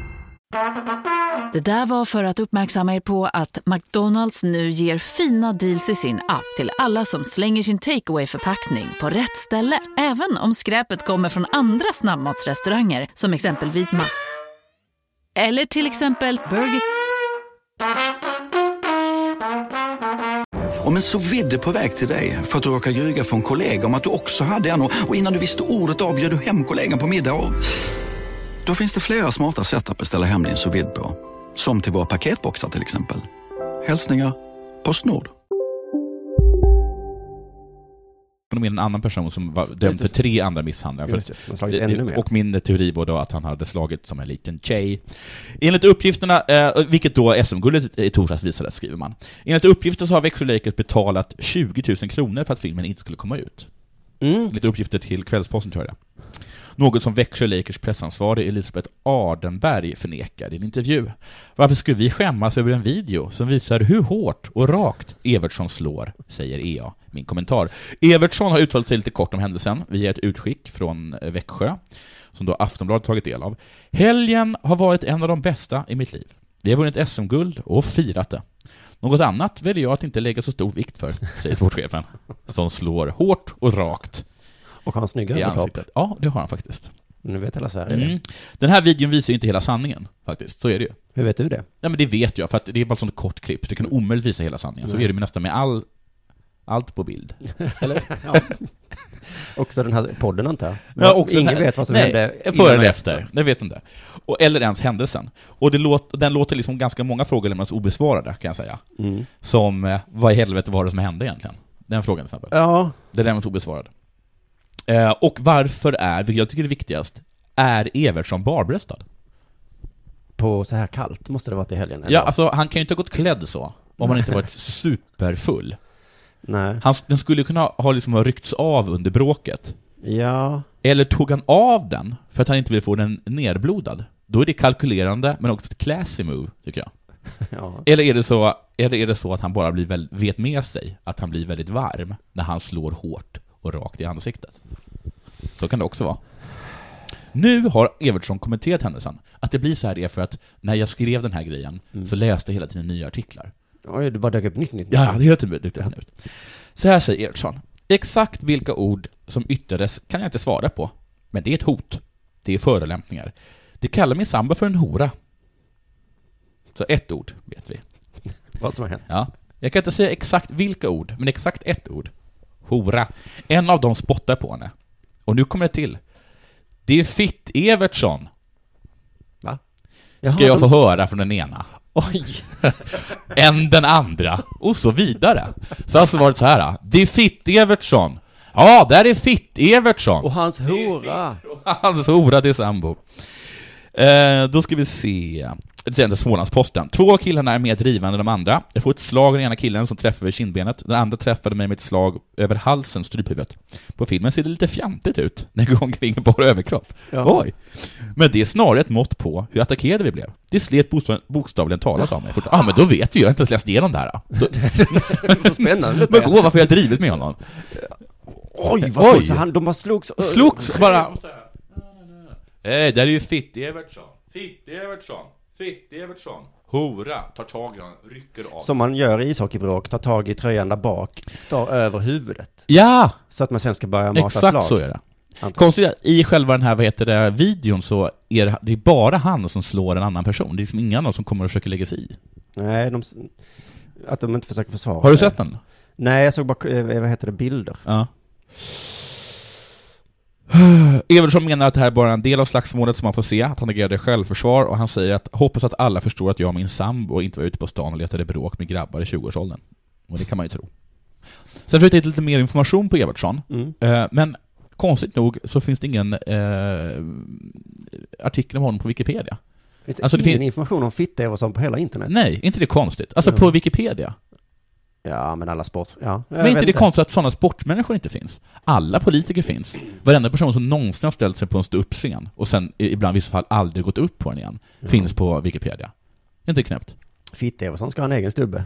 S10: Det där var för att uppmärksamma er på att McDonalds nu ger fina deals i sin app till alla som slänger sin takeaway förpackning på rätt ställe. Även om skräpet kommer från andra snabbmatsrestauranger som exempelvis Ma... Eller till exempel Burger...
S6: Om en så vidde på väg till dig för att du råkar ljuga från kollega om att du också hade en och och innan du visste ordet av bjöd du hem kollegan på middag och... Då finns det flera smarta sätt att beställa hem din sous vide på. Som till våra paketboxar till exempel. Hälsningar Postnord.
S9: de in en annan person som var dömd
S8: just
S9: för
S8: det.
S9: tre andra misshandlar. För
S8: Just det, som har slagit ännu mer.
S9: och min teori var då att han hade slagit som en liten tjej. Enligt uppgifterna, eh, vilket då SM-guldet i torsdags visade, skriver man. Enligt uppgifter så har Växjö Lakers betalat 20 000 kronor för att filmen inte skulle komma ut.
S8: Mm.
S9: Lite uppgifter till Kvällsposten tror jag det. Något som Växjö Lakers pressansvarig Elisabeth Ardenberg förnekar i en intervju. Varför skulle vi skämmas över en video som visar hur hårt och rakt Evertsson slår, säger EA. Min kommentar. Evertsson har uttalat sig lite kort om händelsen via ett utskick från eh, Växjö, som då Aftonbladet tagit del av. Helgen har varit en av de bästa i mitt liv. Vi har vunnit SM-guld och firat det. Något annat väljer jag att inte lägga så stor vikt för, säger sportchefen, som slår hårt och rakt
S8: Och har en snygg
S9: i
S8: överkropp.
S9: ansiktet. Ja, det har han faktiskt.
S8: Nu vet hela Sverige det.
S9: Mm. Den här videon visar ju inte hela sanningen, faktiskt. Så är det ju.
S8: Hur vet du det?
S9: Nej men det vet jag, för att det är bara ett sånt kort klipp. Det kan omöjligt visa hela sanningen. Så är det ju nästan med all, allt på bild.
S8: Också den här podden antar jag?
S9: Ja, också
S8: Ingen
S9: den här-
S8: vet vad som
S9: nej,
S8: hände innan
S9: Före
S8: och
S9: eller efter, det vet inte. Och, eller ens händelsen. Och det låt, den låter liksom ganska många frågor lämnas obesvarade, kan jag säga.
S8: Mm.
S9: Som, eh, vad i helvete var det som hände egentligen? Den frågan till exempel.
S8: Ja,
S9: Den lämnas obesvarad. Eh, och varför är, vilket jag tycker är viktigast, är Evertsson barbröstad?
S8: på så här kallt måste det varit i helgen. eller?
S9: Ja, alltså han kan ju inte ha gått klädd så, om han inte varit superfull.
S8: Nej.
S9: Han, den skulle kunna ha- ha liksom ha ryckts av under bråket.
S8: Ja.
S9: Eller tog han av den för att han inte vill få den nerblodad? Då är det kalkylerande, men också ett classy move, tycker jag.
S8: ja.
S9: Eller är det så, eller är det så att han bara blir väl, vet med sig att han blir väldigt varm när han slår hårt och rakt i ansiktet? Så kan det också vara. Nu har Evertsson kommenterat händelsen. Att det blir så här är för att när jag skrev den här grejen så läste jag hela tiden nya artiklar.
S8: Oj, det bara dök upp nytt, nytt, nytt.
S9: Ja, ja, det är helt enkelt ut. Så här säger Evertsson. Exakt vilka ord som yttrades kan jag inte svara på. Men det är ett hot. Det är förolämpningar. Det kallar min sambo för en hora. Så ett ord vet vi.
S8: Vad som har hänt.
S9: Ja. Jag kan inte säga exakt vilka ord, men exakt ett ord. Hora. En av dem spottar på henne. Och nu kommer det till. Det är Fitt-Evertsson.
S8: Va?
S9: Ska
S8: Jaha,
S9: jag få
S8: de-
S9: höra från den ena.
S8: Oj!
S9: än den andra, och så vidare. Så alltså var det så här. Det är Fitt-Evertsson. Ja, där är Fitt-Evertsson.
S8: Och hans hora.
S9: Hans hora till sambo. Eh, då ska vi se. Det är Smålandsposten. Två av killarna är mer drivande än de andra. Jag får ett slag av den ena killen som träffar över kindbenet. Den andra träffade mig med ett slag över halsen, stryphuvudet. På filmen ser det lite fjantigt ut när jag går omkring i bara överkropp.
S11: Ja.
S9: Oj! Men det är snarare ett mått på hur attackerade vi blev. Det slet bokstav- bokstavligen talat av mig. Ja, ah, men då vet vi ju. Jag har inte ens läst igenom det här. Då...
S8: spännande.
S9: Men gå, varför har jag drivit med honom?
S8: Oj, vad coolt. Så han, de bara slogs.
S9: Slogs bara. Eh, där är ju Fitt-Evertsson. Fitt-Evertsson. Fitt-Evertsson. Hora. Tar tag i honom, rycker av.
S8: Som man gör i ishockeybråk, tar tag i tröjan där bak, tar över huvudet.
S9: Ja!
S8: Så att man sen ska börja mata
S9: Exakt
S8: slag.
S9: så är det. Konstigt att i själva den här, vad heter det, videon så är det, det är bara han som slår en annan person. Det är liksom ingen annan som kommer och försöker lägga sig i.
S8: Nej, de, s- att de inte försöker försvara
S9: Har du
S8: sig.
S9: sett den?
S8: Nej, jag såg bara, eh, vad heter det, bilder.
S9: Ja. (sighs) Evertsson menar att det här är bara en del av slagsmålet som man får se, att han agerade i självförsvar och han säger att hoppas att alla förstår att jag och min sambo inte var ute på stan och letade bråk med grabbar i 20-årsåldern. Och det kan man ju tro. Sen försökte jag hitta lite mer information på Evertsson,
S8: Mm.
S9: eh, men konstigt nog så finns det ingen eh, artikel om honom på Wikipedia.
S8: Finns det
S9: Alltså, det
S8: ingen
S9: fin-
S8: information om fitta och sånt på hela internet?
S9: Nej, inte det konstigt? Alltså
S8: Ja.
S9: på Wikipedia.
S8: Ja, men alla sport... Ja. Jag
S9: Men
S8: vet
S9: inte det konstigt att sådana sportmänniskor inte finns? Alla politiker finns. Varenda person som någonsin har ställt sig på en ståuppscen och sen i- ibland i vissa fall aldrig gått upp på den igen, finns på Wikipedia. Inte knäppt.
S8: Fitt-Evertsson Mm. ska ha en egen stubbe.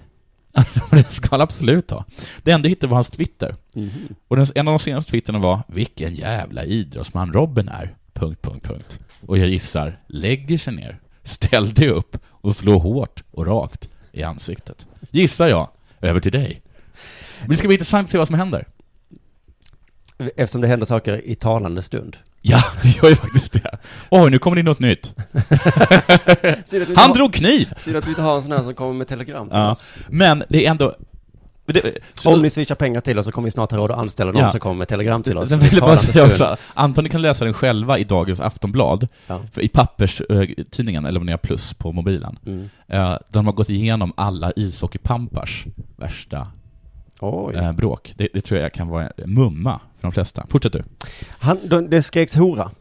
S9: (laughs) det ska han absolut ha. Det enda jag hittade var hans Twitter.
S8: Mhm.
S9: Och den, en av de senaste twittrarna var ”Vilken jävla idrottsman Robin är!” punkt, punkt, punkt. Och jag gissar ”Lägger sig ner, ställ dig upp och slå hårt och rakt i ansiktet”. Gissar jag. Över till dig. Men det ska bli intressant att se vad som händer.
S8: Eftersom det händer saker i talande stund.
S9: Ja, det gör ju faktiskt det. Oj, nu kommer det in något nytt.
S8: Synd att vi inte
S9: Han
S8: har-
S9: drog kniv!
S8: Synd att vi inte har en sån här som kommer med telegram till
S9: Ja.
S8: oss.
S9: Men det är ändå... Det,
S8: Om ni swishar pengar till oss så kommer vi snart ha råd att anställa någon som kommer med telegram till oss.
S9: Sen vill
S8: i
S9: jag bara
S8: talande
S9: säga
S8: stund.
S9: också, Anton, ni kan läsa den själva i dagens Aftonblad, för i papperstidningen, eller om ni har plus på mobilen.
S8: Mm.
S9: Eh, De har gått igenom alla ishockeypampars värsta eh, bråk. Det, det tror jag kan vara mumma för de flesta. Fortsätt du.
S8: Han, de, det skreks hora.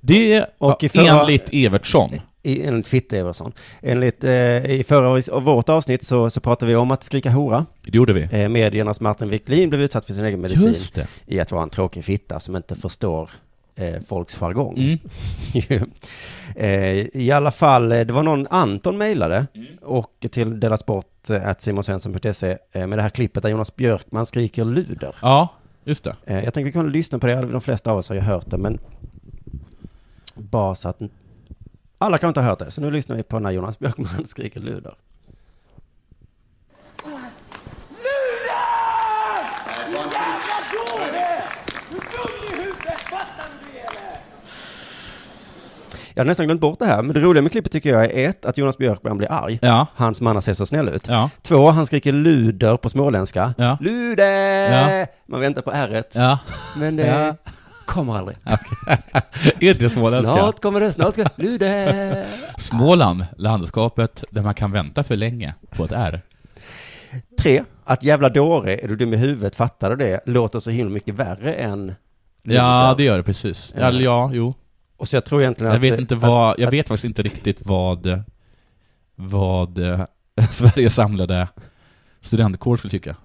S9: Det
S8: och i
S9: enligt Evertsson.
S8: I, enligt Fitte-Evertsson. Enligt, eh, i förra årets- av vårt avsnitt så, så pratade vi om att skrika hora.
S9: Det gjorde vi.
S8: Eh, mediernas Martin Wiklin blev utsatt för sin egen medicin.
S9: Just det.
S8: I att vara en tråkig fitta som inte förstår eh, folks jargong. (laughs)
S9: Mm.
S8: eh, I alla fall, eh, det var någon Anton mejlade
S9: Mm.
S8: och till Della Sport eh, at simonsvensson.se eh, med det här klippet där Jonas Björkman skriker luder.
S9: Ja, just det.
S8: Eh, jag tänkte vi kunde lyssna på det, de flesta av oss har ju hört det, men bara så att alla kan inte ha hört det, så nu lyssnar vi på när Jonas Björkman (laughs) skriker luder. Jag hade nästan glömt bort det här, men det roliga med klippet tycker jag är ett, att Jonas Björkman blir arg. Han som annars ser så snäll ut. Två, han skriker luder på småländska.
S9: Ja.
S8: Luder!
S9: Ja.
S8: Man väntar på ärret. (laughs)
S9: Ja.
S8: Men eh, det
S9: Ja.
S8: kommer aldrig.
S9: är det småländska?
S8: Snart kommer det, snart kommer det. Luder!
S9: Småland, landskapet där man kan vänta för länge på ett R.
S8: (laughs) Tre, att jävla dåre, är du dum i huvudet, fattar du det? Låter så himla mycket värre än luder.
S9: Ja, det gör det precis. Ja, eller ja, jo.
S8: Och så jag tror egentligen
S9: Jag
S8: att-
S9: vet inte vad, jag vet faktiskt inte riktigt vad, vad eh, (laughs) Sveriges samlade studentkår skulle tycka.
S8: Nej,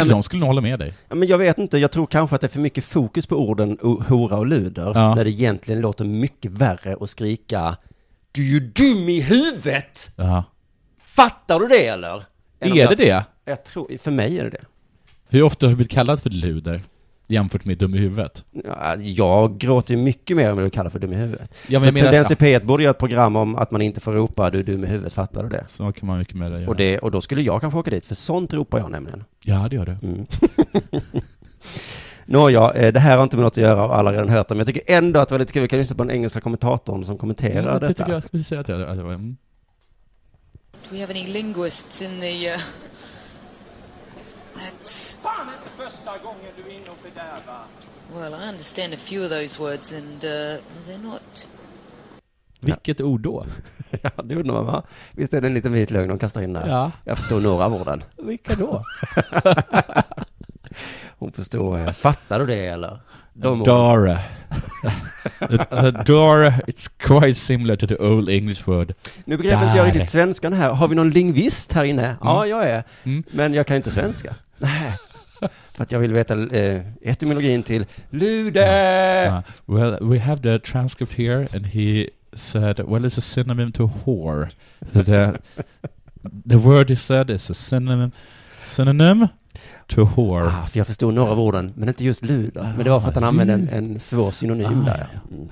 S9: eller
S8: men-
S9: de skulle nog hålla med dig.
S8: Ja, men jag vet inte, jag tror kanske att det är för mycket fokus på orden o- hora och luder,
S9: Ja.
S8: när det egentligen låter mycket värre att skrika Du är ju dum i huvudet!
S9: Ja.
S8: Fattar du det eller? Än om
S9: Är
S8: jag-
S9: det det?
S8: Jag tror, för mig är det det.
S9: Hur ofta har du blivit kallad för luder jämfört med dum i huvudet?
S8: Ja, jag gråter ju mycket mer än vad du kallar för dum i huvudet.
S9: Ja, men
S8: så
S9: jag menar-
S8: Tendens i P1 borde göra ett program om att man inte får ropa du är dum i huvudet, fattar du det?
S9: Så kan man mycket mer göra.
S8: Och, det, och då skulle jag kanske åka dit, för sånt ropar jag nämligen.
S9: Ja, det gör du.
S8: Mm. Nåja, eh, det här har inte med något att göra och alla har redan hört det, men jag tycker ändå att det var lite kul, vi kan lyssna på den engelska kommentatorn som kommenterar
S9: Ja, det
S8: detta.
S9: tycker jag precis att jag... att jag- mm.
S12: Do we have any linguists in the uh,
S11: It's
S12: Fan inte första gången du är inne och fördärvar.
S11: well, I understand a few of those words, and uh, they're not.
S9: Vilket ord då?
S8: (laughs) ja, det undrar man va? Visst är det en liten vit lögn de kastar in där?
S9: Ja.
S8: Jag förstår några av orden.
S9: Vilka då?
S8: Hon förstår, eh, fattar du det eller? orden.
S9: Dara. Dara, Alltså, it's quite similar to the old English word.
S8: Nu begrepp inte jag riktigt svenskan här. Har vi någon lingvist här inne? Ja, jag är.
S9: Mm.
S8: Men jag kan inte svenska. Nej. För att jag vill veta eh, etymologin till Lude!
S9: Uh, well, we have the transcript here, and he said, well, it's a synonym to whore. The, the, the word he said is a synonym, synonym to whore.
S8: Ah, för jag förstod några av orden, men inte just luder. Men det var för att han använde en, en svår
S9: Ah,
S8: synonym där. ja. Mm.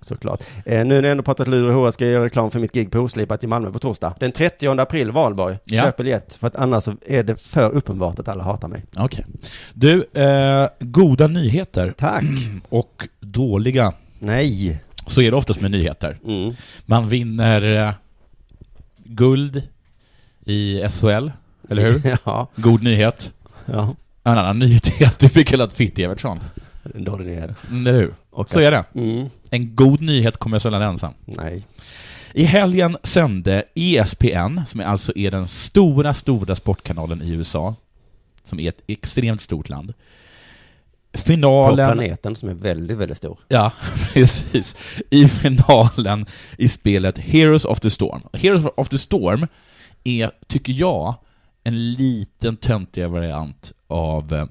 S8: Såklart. Eh, nu när jag ändå pratat luder och HR ska jag göra reklam för mitt gig på Oslipat i Malmö på torsdag. Den 30 april, Valborg.
S9: Ja.
S8: Köp biljett, för att annars så är det för uppenbart att alla hatar mig.
S9: Okej. Du, eh, goda nyheter. (clears throat)
S8: Tack.
S9: Och dåliga.
S8: Nej. Mm.
S9: Så är det oftast med nyheter. Man vinner eh, guld i SHL, eller
S8: (laughs)
S9: hur?
S8: ja.
S9: God nyhet.
S8: Ja.
S9: En annan nyhet är att du blir kallad Fitt-Evertsson.
S8: En dålig nyhet.
S9: Mm, Eller hur?
S8: Och-
S9: Så är det.
S8: Mm.
S9: En god nyhet kommer sällan ensam.
S8: Nej.
S9: I helgen sände E ESPN, som är alltså är den stora, stora sportkanalen i USA, som är ett extremt stort land,
S8: På
S9: finalen...
S8: planeten som är väldigt, väldigt stor.
S9: Ja, (laughs) precis. I finalen i spelet Heroes of the Storm. Heroes of the Storm är, tycker jag, en liten töntigare variant av eh,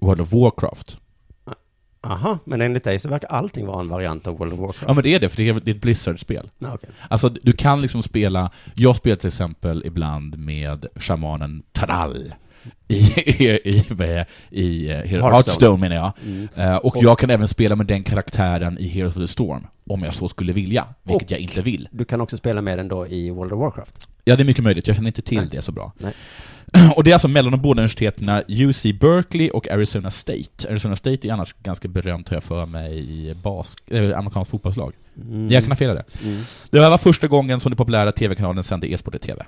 S9: World of Warcraft.
S8: Aha, men enligt dig så verkar allting vara en variant av World of Warcraft.
S9: Ja men det är det, för det är, det är ett Blizzard-spel.
S8: Ja, okej.
S9: Alltså du kan liksom spela, jag spelar till exempel ibland med shamanen Taral i, i, i, i, i eh,
S8: Hearthstone.
S9: Hearthstone menar jag.
S8: Mm.
S9: Eh, och,
S8: Och-
S9: jag kan även spela med den karaktären i Heroes of the Storm, om jag så skulle vilja, vilket jag inte vill.
S8: Du kan också spela med den då i World of Warcraft.
S9: Ja, det är mycket möjligt, jag känner inte till det så bra.
S8: Nej.
S9: (clears throat) Och det är alltså mellan de båda universiteten UC Berkeley och Arizona State. Arizona State är annars ganska berömt, har jag för mig, i bas, eh, amerikanskt fotbollslag.
S8: Mm.
S9: Jag kan ha fel där.
S8: Mm.
S9: Det här var första gången som den populära TV-kanalen sände e-sport i TV.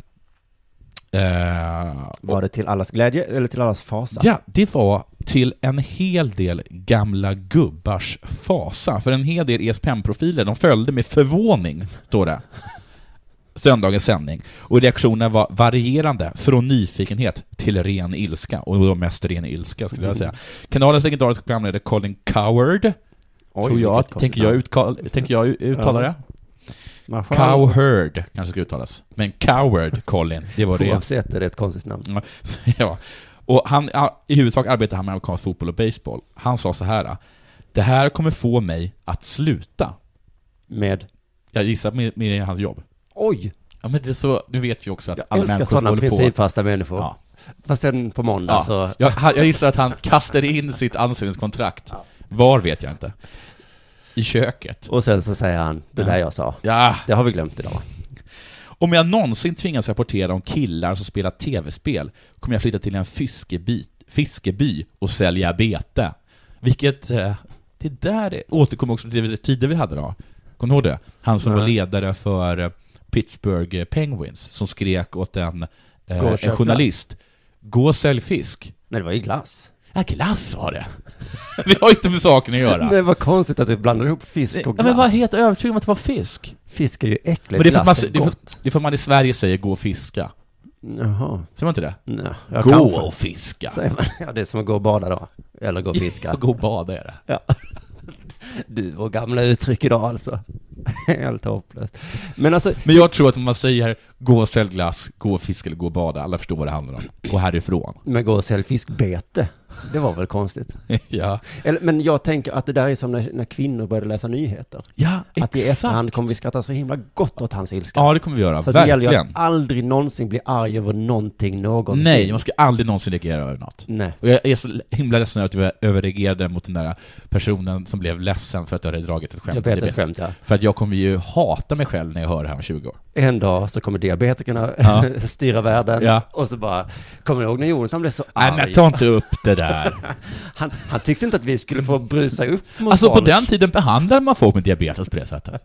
S9: Eh,
S8: Var det till allas glädje eller till allas fasa?
S9: Ja, det var till en hel del gamla gubbars fasa. För en hel del E ESPN-profiler, de följde med förvåning, står det. (laughs) Söndagens sändning. Och reaktionerna var varierande, från nyfikenhet till ren ilska. Och då mest ren ilska, skulle jag
S8: Mm.
S9: säga. Kanalens legendariska programledare Colin Coward,
S8: Oj,
S9: tror jag,
S8: vilket konstigt
S9: tänker jag,
S8: namn.
S9: utkal- tänker
S8: (laughs)
S9: jag uttala
S8: Ja.
S9: det?
S8: Marshall.
S9: Cowherd kanske ska uttalas. Men Coward, Colin, det var det.
S8: Oavsett är det ett konstigt namn.
S9: Ja, (laughs) Ja. Och han, ja, i huvudsak arbetar han med amerikansk fotboll och baseball. Han sa så här. Det här kommer få mig att sluta.
S8: Med?
S9: Jag gissar med, med hans jobb.
S8: Oj!
S9: Ja men det är så, du vet ju också att
S8: Jag
S9: alla
S8: älskar
S9: människor
S8: sådana
S9: håller på.
S8: principfasta människor.
S9: Ja. Alltså-
S8: Fast sen på måndag
S9: Ja.
S8: så...
S9: Jag, han- jag gissar att han kastade in sitt anställningskontrakt. Var vet jag inte. I köket.
S8: Och sen så säger han, det där jag sa.
S9: Ja.
S8: Det har vi glömt idag.
S9: Om jag någonsin tvingas rapportera om killar som spelar tv-spel kommer jag flytta till en fiskeby, fiskeby och sälja bete. Vilket, eh, det där är- återkommer också till det tider vi hade då. Kommer du ihåg det? Han som var
S8: Nej.
S9: ledare för eh, Pittsburgh Penguins som skrek åt en, eh,
S8: Gå och
S9: en
S8: köp
S9: journalist Gå och sälj fisk.
S8: Nej, det var ju glass.
S9: Ja, glass var det. (laughs) det har inte med saken att göra.
S8: Det var konstigt att du blandade ihop fisk och
S9: Ja,
S8: glass.
S9: men var helt övertygad om att det var fisk.
S8: Fisk är ju äckligt,
S9: Men det är för att man,
S8: glass är
S9: det är för,
S8: gott.
S9: det är för att man i Sverige säger gå och fiska.
S8: Jaha.
S9: Säger man inte det?
S8: Nej,
S9: gå
S8: kanske.
S9: och fiska.
S8: (laughs) Säger man. Ja, det är som att gå och bada då. Eller gå
S9: (laughs)
S8: och fiska.
S9: Gå och bada är det.
S8: Ja. Du och gamla uttryck idag alltså. (laughs) Helt hopplöst. Men alltså,
S9: Men jag tror att om man säger gå och sälj glass, gå och fiska eller gå och bada, alla förstår vad det handlar om. Gå härifrån. (laughs)
S8: men gå och sälj fiskbete. Det var väl konstigt.
S9: ja.
S8: Eller, men jag tänker att det där är som när, när kvinnor började läsa nyheter.
S9: Ja,
S8: Att i
S9: exakt.
S8: efterhand kommer vi skratta så himla gott åt hans ilska.
S9: Ja, det kommer vi göra.
S8: så att det gäller ju att
S9: Verkligen.
S8: aldrig någonsin bli arg över någonting någonsin.
S9: Nej, man ska aldrig någonsin reagera över något.
S8: Nej.
S9: Och jag är så himla ledsen att jag överreagerade mot den där personen som blev ledsen för att jag hade dragit ett skämt.
S8: Jag vet
S9: Det
S8: ett skämt, ja.
S9: För att jag kommer ju hata mig själv när jag hör det här om 20 år.
S8: En dag så kommer diabetikerna
S9: Ja.
S8: (laughs) styra världen.
S9: Ja.
S8: Och så bara, kommer du ihåg när Jonathan blev så
S9: Nej,
S8: arg?
S9: men ta inte upp det
S8: (laughs)
S9: där.
S8: han, han tyckte inte att vi skulle få brusa upp mot
S9: Alltså på
S8: folk.
S9: den tiden behandlade man folk med diabetes på det sättet.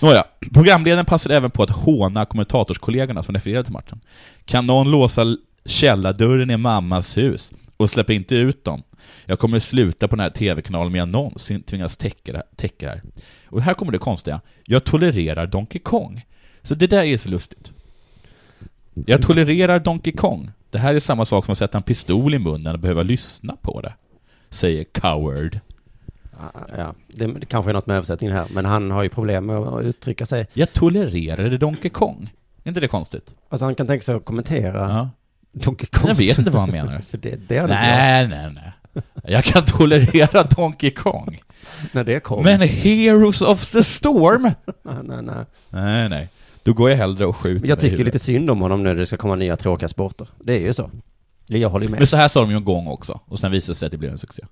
S9: Nåja, programledaren passade även på att håna kommentatorskollegorna som refererade till matchen. Kan någon låsa Källardörren är mammas hus. Och släpp inte ut dem. Jag kommer sluta på den här TV-kanalen med jag någonsin tvingas täcka det här- täcka det här. Och här kommer det konstiga. Jag tolererar Donkey Kong. Så det där är så lustigt. Jag tolererar Donkey Kong. Det här är samma sak som att sätta en pistol i munnen och behöva lyssna på det. Säger coward.
S8: Ja, det, det kanske är något med översättningen här, men han har ju problem med att uttrycka sig.
S9: Jag tolererade Donkey Kong. Är inte det konstigt?
S8: Alltså han kan tänka sig att kommentera Donkey Kong.
S9: Jag vet inte vad han
S8: (laughs)
S9: menar.
S8: För det, det hade inte
S9: nej, nej, nej. Jag kan tolerera (laughs) Donkey Kong.
S8: När det kom.
S9: Men Heroes of the Storm?
S8: nej, nej, nej.
S9: Nej, nej. Då går jag hellre och skjuter
S8: Men Jag
S9: mig i
S8: tycker
S9: huvudet.
S8: lite synd om honom nu när det ska komma nya tråkiga sporter. Det är ju så. Jag håller ju med.
S9: Men så här sa de ju en gång också, och sen visade det sig att det blev en succé.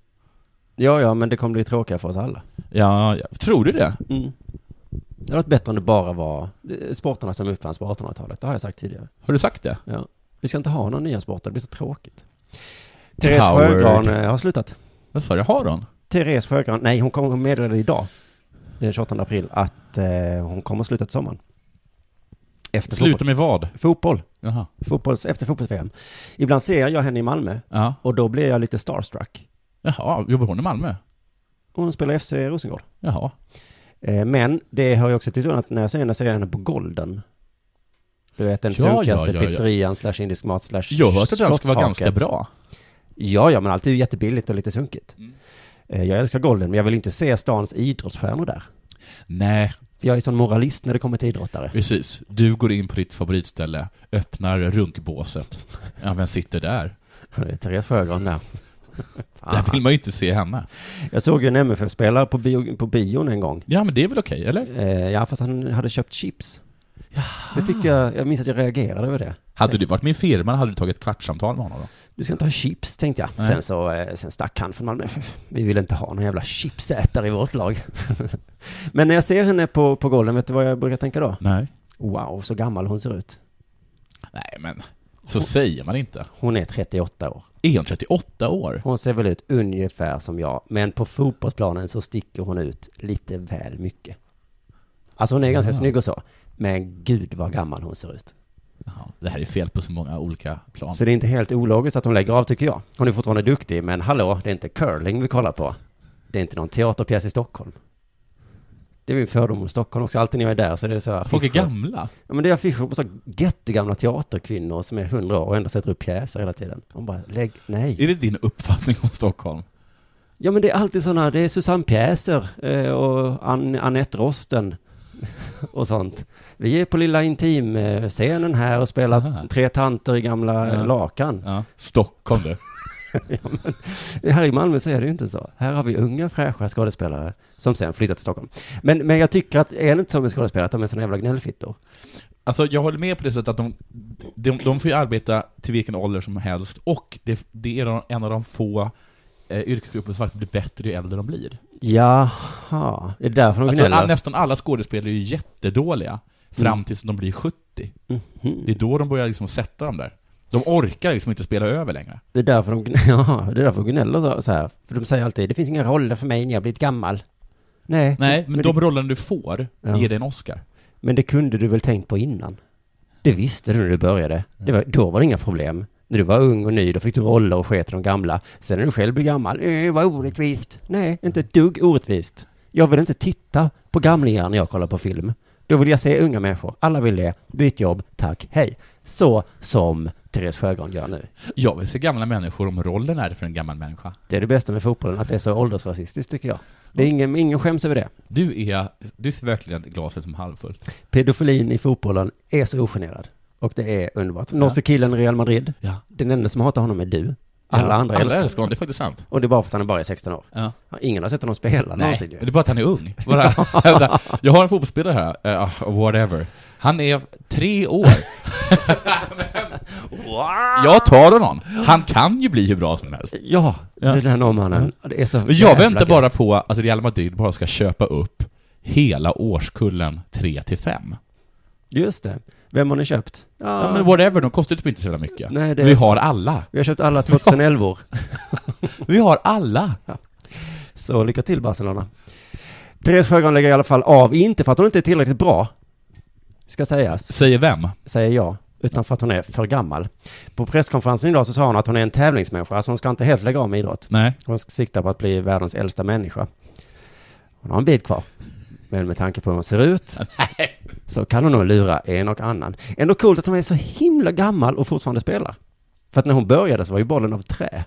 S8: Ja, ja, men det kommer bli tråkiga för oss alla.
S9: Ja, ja. tror du det?
S8: Mm. Det hade varit bättre om det bara var eh, sporterna som uppfanns på 1800-talet. Det har jag sagt tidigare.
S9: Har du sagt det?
S8: Ja. Vi ska inte ha några nya sporter, det blir så tråkigt.
S9: Therese
S8: Therese
S9: Howard.
S8: Sjögran eh, har slutat.
S9: Vad sa du, har hon?
S8: Therese Sjögran, nej hon kommer meddela det idag, den 28 april, att eh, hon kommer sluta till sommaren. Efter
S9: Sluta med vad?
S8: Fotboll.
S9: Jaha.
S8: Fotbolls, efter fotbolls-VM. Ibland ser jag henne i Malmö
S9: Ja.
S8: och då blir jag lite starstruck.
S9: Jaha, jobbar hon i Malmö?
S8: Hon spelar FC Rosengård.
S9: Jaha.
S8: Eh, men det hör ju också till historien att när jag ser henne ser jag henne på Golden. Du vet den
S9: Ja, ja,
S8: sunkigaste
S9: ja, ja.
S8: pizzerian slash indisk mat slash
S9: Jag har hört att den ska vara
S8: slottshaket.
S9: ganska bra.
S8: Ja, ja, men allt är ju jättebilligt och lite sunkigt. Eh, Jag älskar Golden, men jag vill inte se stans idrottsstjärnor där.
S9: Nej.
S8: För jag är sån moralist när det kommer till idrottare.
S9: Precis. Du går in på ditt favoritställe, öppnar runkbåset. Ja, men sitter där?
S8: Det är Therese Sjögran där.
S9: (laughs) Där vill man ju inte se henne.
S8: Jag såg ju en MFF-spelare på, bio, på bion en gång.
S9: Ja, men det är väl okej, eller?
S8: Eh, ja, fast han hade köpt chips. Det tyckte jag, jag minns att jag reagerade över det.
S9: Hade du varit min firma hade du tagit ett kvartssamtal med honom då?
S8: Du ska inte ha chips, tänkte jag.
S9: Nej.
S8: Sen så, eh, sen stack han från Malmö (laughs) FF. Vi vill inte ha någon jävla chipsätare i vårt lag. (laughs) Men när jag ser henne på, på golven, vet du vad jag brukar tänka då?
S9: Nej.
S8: Wow, så gammal hon ser ut.
S9: Nej, men så säger man inte.
S8: Hon är 38 år.
S9: Är hon 38 år?
S8: Hon ser väl ut ungefär som jag, men på fotbollsplanen så sticker hon ut lite väl mycket. Alltså hon är ganska
S9: Ja.
S8: snygg och så, men gud vad gammal hon ser ut.
S9: Ja, det här är fel på så många olika plan.
S8: Så det är inte helt ologiskt att hon lägger av tycker jag. Hon är fortfarande duktig, men hallå, det är inte curling vi kollar på. Det är inte någon teaterpjäs i Stockholm. Det är min fördom om Stockholm också. Alltid när jag är där så är det så här
S9: Folk är
S8: affischer.
S9: gamla.
S8: Ja men det är affischer på så här jättegamla teaterkvinnor som är hundra år och ändå sätter upp pjäser hela tiden. Hon bara, lägg, nej.
S9: Är det din uppfattning om Stockholm?
S8: Ja men det är alltid sådana, det är Susanne Pjäser eh, och An Anette Rosten och sånt. Vi är på lilla intimscenen här och spelar tre tanter i gamla eh,
S9: Ja.
S8: lakan.
S9: Ja. Stockholm du.
S8: ja, men, här i Malmö så är det ju inte så. Här har vi unga fräscha skådespelare som sen flyttat till Stockholm. Men, men jag tycker att, är det inte så med skådespelare att de är sådana jävla gnällfittor?
S9: Alltså jag håller med på det sättet att de, de, de får ju arbeta till vilken ålder som helst och det, det är de- en av de få eh, yrkesgrupper som faktiskt blir bättre ju äldre de
S8: Mm.
S9: blir.
S8: Jaha, det är därför de
S9: Alltså
S8: gnäller.
S9: all, nästan alla skådespelare är ju jättedåliga fram
S8: Mm.
S9: tills de blir 70.
S8: Mhm.
S9: Det är då de börjar liksom sätta dem där. De orkar liksom inte spela över längre.
S8: Det är därför de, gnä- (laughs) ja, det är därför de gnäller så- så här. För de säger alltid, det finns inga roller för mig när jag blivit gammal. Nej.
S9: Nej, men,
S8: Mm. men
S9: de
S8: det-
S9: rollerna du får
S8: Ja.
S9: ger dig en Oscar.
S8: Men det kunde du väl tänkt på innan? Det visste du när du började. Det var, då var det inga problem. När du var ung och ny, då fick du roller och sket i de gamla. Sen när du själv blev gammal, eh, vad orättvist. Nej, inte ett dugg orättvist. Jag vill inte titta på gamlingar när jag kollar på film. Då vill jag se unga människor. Alla vill det. Byt jobb, tack, hej. Så som Therese Sjögran gör nu.
S9: Jag vill se gamla människor om rollen är för en gammal människa.
S8: Det är det bästa med fotbollen, att det är så åldersrasistiskt tycker jag. Det är ingen, ingen skäms över det.
S9: Du är, du ser verkligen glaset som halvfullt.
S8: Pedofilin i fotbollen är så ogenerad. Och det är underbart. Norske killen i Real Madrid.
S9: Ja.
S8: Den enda som hatar honom är du. Alla
S9: Ja,
S8: andra
S9: alla
S8: älskar
S9: älskar honom, det är faktiskt sant.
S8: Och det är bara för att han bara är 16 år.
S9: Ja.
S8: Ingen har sett honom spela
S9: Nej,
S8: någonsin
S9: det
S8: ju.
S9: är bara att han är ung. Bara, (laughs) hävda, jag har en fotbollsspelare här, eh, ah, whatever. Han är tre
S8: (laughs)
S9: år. (laughs) jag tar honom. Han kan ju bli hur bra som helst.
S8: Ja, den här norrmannen. Det är så
S9: Men jag
S8: jävla
S9: väntar
S8: gött.
S9: bara på att alltså, Real Madrid bara ska köpa upp hela årskullen 3-5.
S8: Just det. Vem har ni köpt?
S9: Ja. men whatever, de kostar typ inte så jävla mycket.
S8: Nej, det är
S9: Vi
S8: så.
S9: har alla.
S8: Vi har köpt alla 2011
S9: (laughs) Vi har alla.
S8: Så lycka till Barcelona. Therese Sjögran lägger i alla fall av, inte för att hon inte är tillräckligt bra. Ska sägas.
S9: Säger vem?
S8: Säger jag. utan för att hon är för gammal. På presskonferensen idag så sa hon att hon är en tävlingsmänniska, alltså hon ska inte helt lägga av med idrott.
S9: Nej.
S8: Hon ska sikta på att bli världens äldsta människa. Hon har en bit kvar. Men med tanke på hur hon ser ut så kan hon nog lura en och annan. Ändå coolt att hon är så himla gammal och fortfarande spelar. För att när hon började så var ju bollen av trä.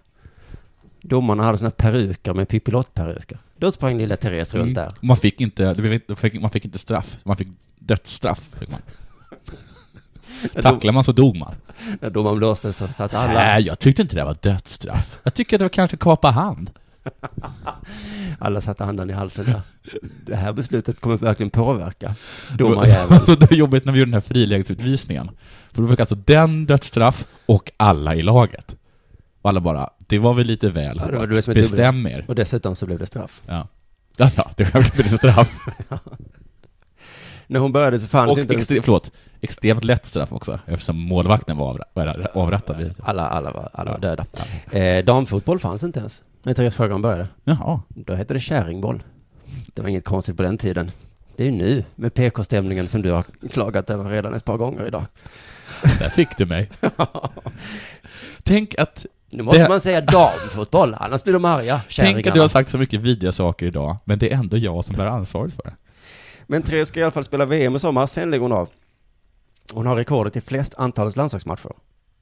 S8: Domarna hade sina peruker med pipilottperuker. Då sprang lilla Therese runt där.
S9: Mm. Man fick inte, det blev inte- fick- man fick inte straff, man fick dödsstraff. Fick man. Tacklar man så dog man.
S8: När domaren blåste så satt alla...
S9: Nej, jag tyckte inte det var dödsstraff. Jag tycker att det var kanske kapa hand.
S8: Alla satte handen i halsen (laughs) där. Det här beslutet kommer verkligen påverka
S9: (laughs) Det var-
S8: domarjäveln.
S9: Så Alltså, det var jobbigt när vi gjorde den här frilägesutvisningen. För då fick alltså den dödsstraff och alla i laget. Och alla bara, det var väl lite väl
S8: Ja, det var
S9: hårt.
S8: du som är dubbel.
S9: Bestäm er.
S8: (laughs) Och dessutom så blev det straff.
S9: Ja, ja, ja det självklart blev det straff.
S8: När hon började så fanns
S9: och
S8: inte...
S9: Extre- förlåt, extremt lätt straff också, eftersom målvakten var avra- var avrättad.
S8: Alla, alla, var, alla var döda. Eh, damfotboll fanns inte ens när Therese Sjögran började.
S9: Jaha.
S8: Då hette det kärringboll. Det var inget konstigt på den tiden. Det är ju nu med PK-stämningen som du har klagat över redan ett par gånger idag.
S9: Där fick du
S8: (laughs)
S9: mig. Tänk att...
S8: Nu måste
S9: det-
S8: man säga damfotboll, annars blir de arga,
S9: Tänk att
S8: kärringarna.
S9: du har sagt så mycket vidriga saker idag, men det är ändå jag som bär ansvaret för det.
S8: Men Therese ska i alla fall spela VM i sommar, sen lägger hon av. Hon har rekordet i flest antalet landslagsmatcher.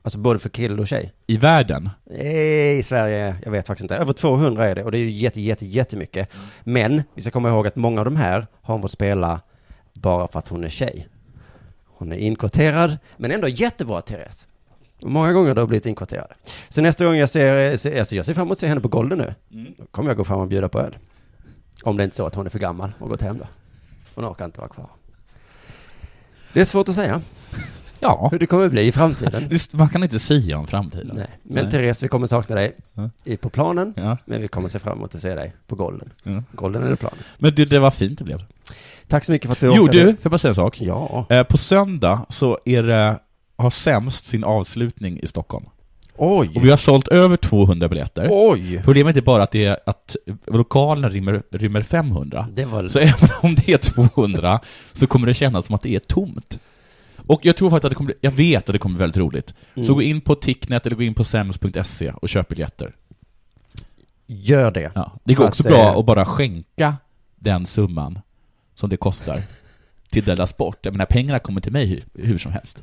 S8: Alltså både för kille och tjej.
S9: I världen?
S8: Eh, I Sverige, jag vet faktiskt inte. Över 200 är det och det är ju jätte, jätte, jättemycket. Men vi ska komma ihåg att många av de här har hon fått spela bara för att hon är tjej. Hon är inkvoterad, men ändå jättebra Therese. Och Många gånger har det blivit inkvoterade. Så nästa gång jag ser, ser- alltså jag ser fram emot att se henne på Golden nu. Då kommer jag gå fram och bjuda på öl. Om det inte är så att hon är för gammal och gått hem då. Hon orkar inte vara kvar. Det är svårt att säga.
S9: Ja.
S8: Hur det kommer bli
S9: (laughs)
S8: i framtiden.
S9: Visst, Man kan inte säga om framtiden.
S8: Nej. Men Therese, vi kommer sakna dig
S9: Ja.
S8: i- på planen.
S9: Ja.
S8: Men vi kommer se fram emot att se dig på golden.
S9: Ja.
S8: Golden eller planen.
S9: Men du, det var fint det blev.
S8: Tack så mycket för att du
S9: Jo
S8: orkade.
S9: du, får jag bara säga en sak?
S8: Ja.
S9: Eh, på söndag så är det, har sämst sin avslutning i Stockholm.
S8: Oj!
S9: Och vi har sålt över 200 biljetter.
S8: Oj!
S9: Problemet är bara att, det är att lokalen rymmer, rymmer 500.
S8: Det var...
S9: Så även om det är 200 så kommer det kännas som att det är tomt. Och jag tror faktiskt att det kommer bli, jag vet att det kommer bli väldigt roligt. Så
S8: Mm.
S9: gå in på Ticknet eller gå in på sems.se E och köp biljetter.
S8: Gör det.
S9: Ja, det går
S8: För
S9: också
S8: att,
S9: bra
S8: eh,
S9: att bara skänka den summan som det kostar till Della Sport. Jag menar, pengarna kommer till mig hur, hur som helst.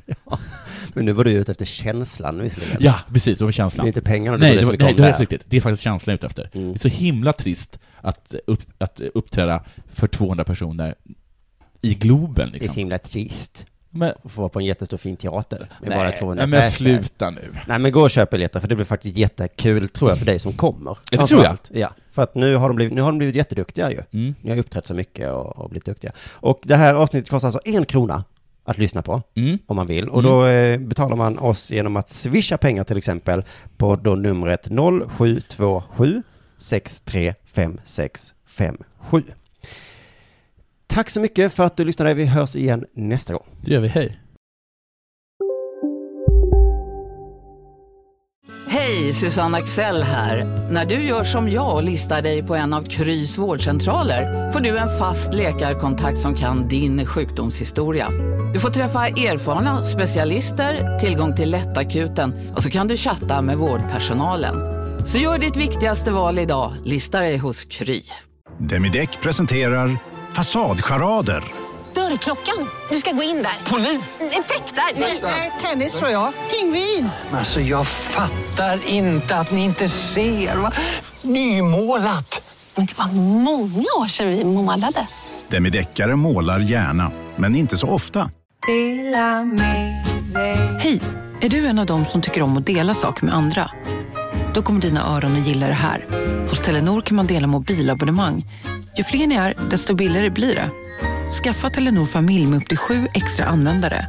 S8: Men nu var du ute efter känslan visserligen.
S9: Ja, precis, det var känslan.
S8: Det är inte pengarna du
S9: nej,
S8: får det
S9: det var,
S8: som
S9: nej, det var
S8: kom där.
S9: helt riktigt. Det är faktiskt känslan jag är ute efter.
S8: Mm.
S9: Det är så himla trist att, upp, att uppträda för 200 personer i Globen
S8: Det är
S9: liksom.
S8: så himla trist.
S9: Men-
S8: Att få vara på en jättestor fin teater med
S9: Nej,
S8: bara 200
S9: nej, men
S8: pers där.
S9: sluta nu.
S8: Nej men gå och köp biljetter för det blir faktiskt jättekul tror jag för dig som kommer.
S9: Ja, det tror jag.
S8: Framförallt. Ja, för att nu har de blivit, nu har de blivit jätteduktiga ju.
S9: Mm.
S8: Ni har uppträtt så mycket och, och blivit duktiga. Och det här avsnittet kostar alltså en krona att lyssna på
S9: Mm.
S8: om man vill. Och då eh, betalar man oss genom att swisha pengar till exempel på då numret 0727 635657. Tack så mycket för att du lyssnade. Vi hörs igen nästa gång.
S9: Det gör vi, hej.
S13: Hej, Susanne Axel här. När du gör som jag och listar dig på en av Krys vårdcentraler får du en fast läkarkontakt som kan din sjukdomshistoria. Du får träffa erfarna specialister, tillgång till lättakuten och så kan du chatta med vårdpersonalen. Så gör ditt viktigaste val idag, listar dig hos Kry.
S14: Demideck presenterar Fasadcharader.
S15: Dörrklockan. Du ska gå in där. Polis? Effektar? Nej, tennis tror jag. Pingvin.
S16: Alltså jag fattar inte att ni inte ser. Va? Nymålat!
S15: Men det var många år sedan vi målade.
S14: Demideckare målar gärna, men inte så ofta.
S17: Hej! Är du en av dem som tycker om att dela saker med andra? Då kommer dina öron att gilla det här. Hos Telenor kan man dela mobilabonnemang. Ju fler ni är, desto billigare blir det. Skaffa Telenor familj med upp till sju extra användare.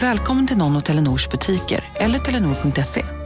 S17: Välkommen till någon av Telenors butiker eller telenor.se.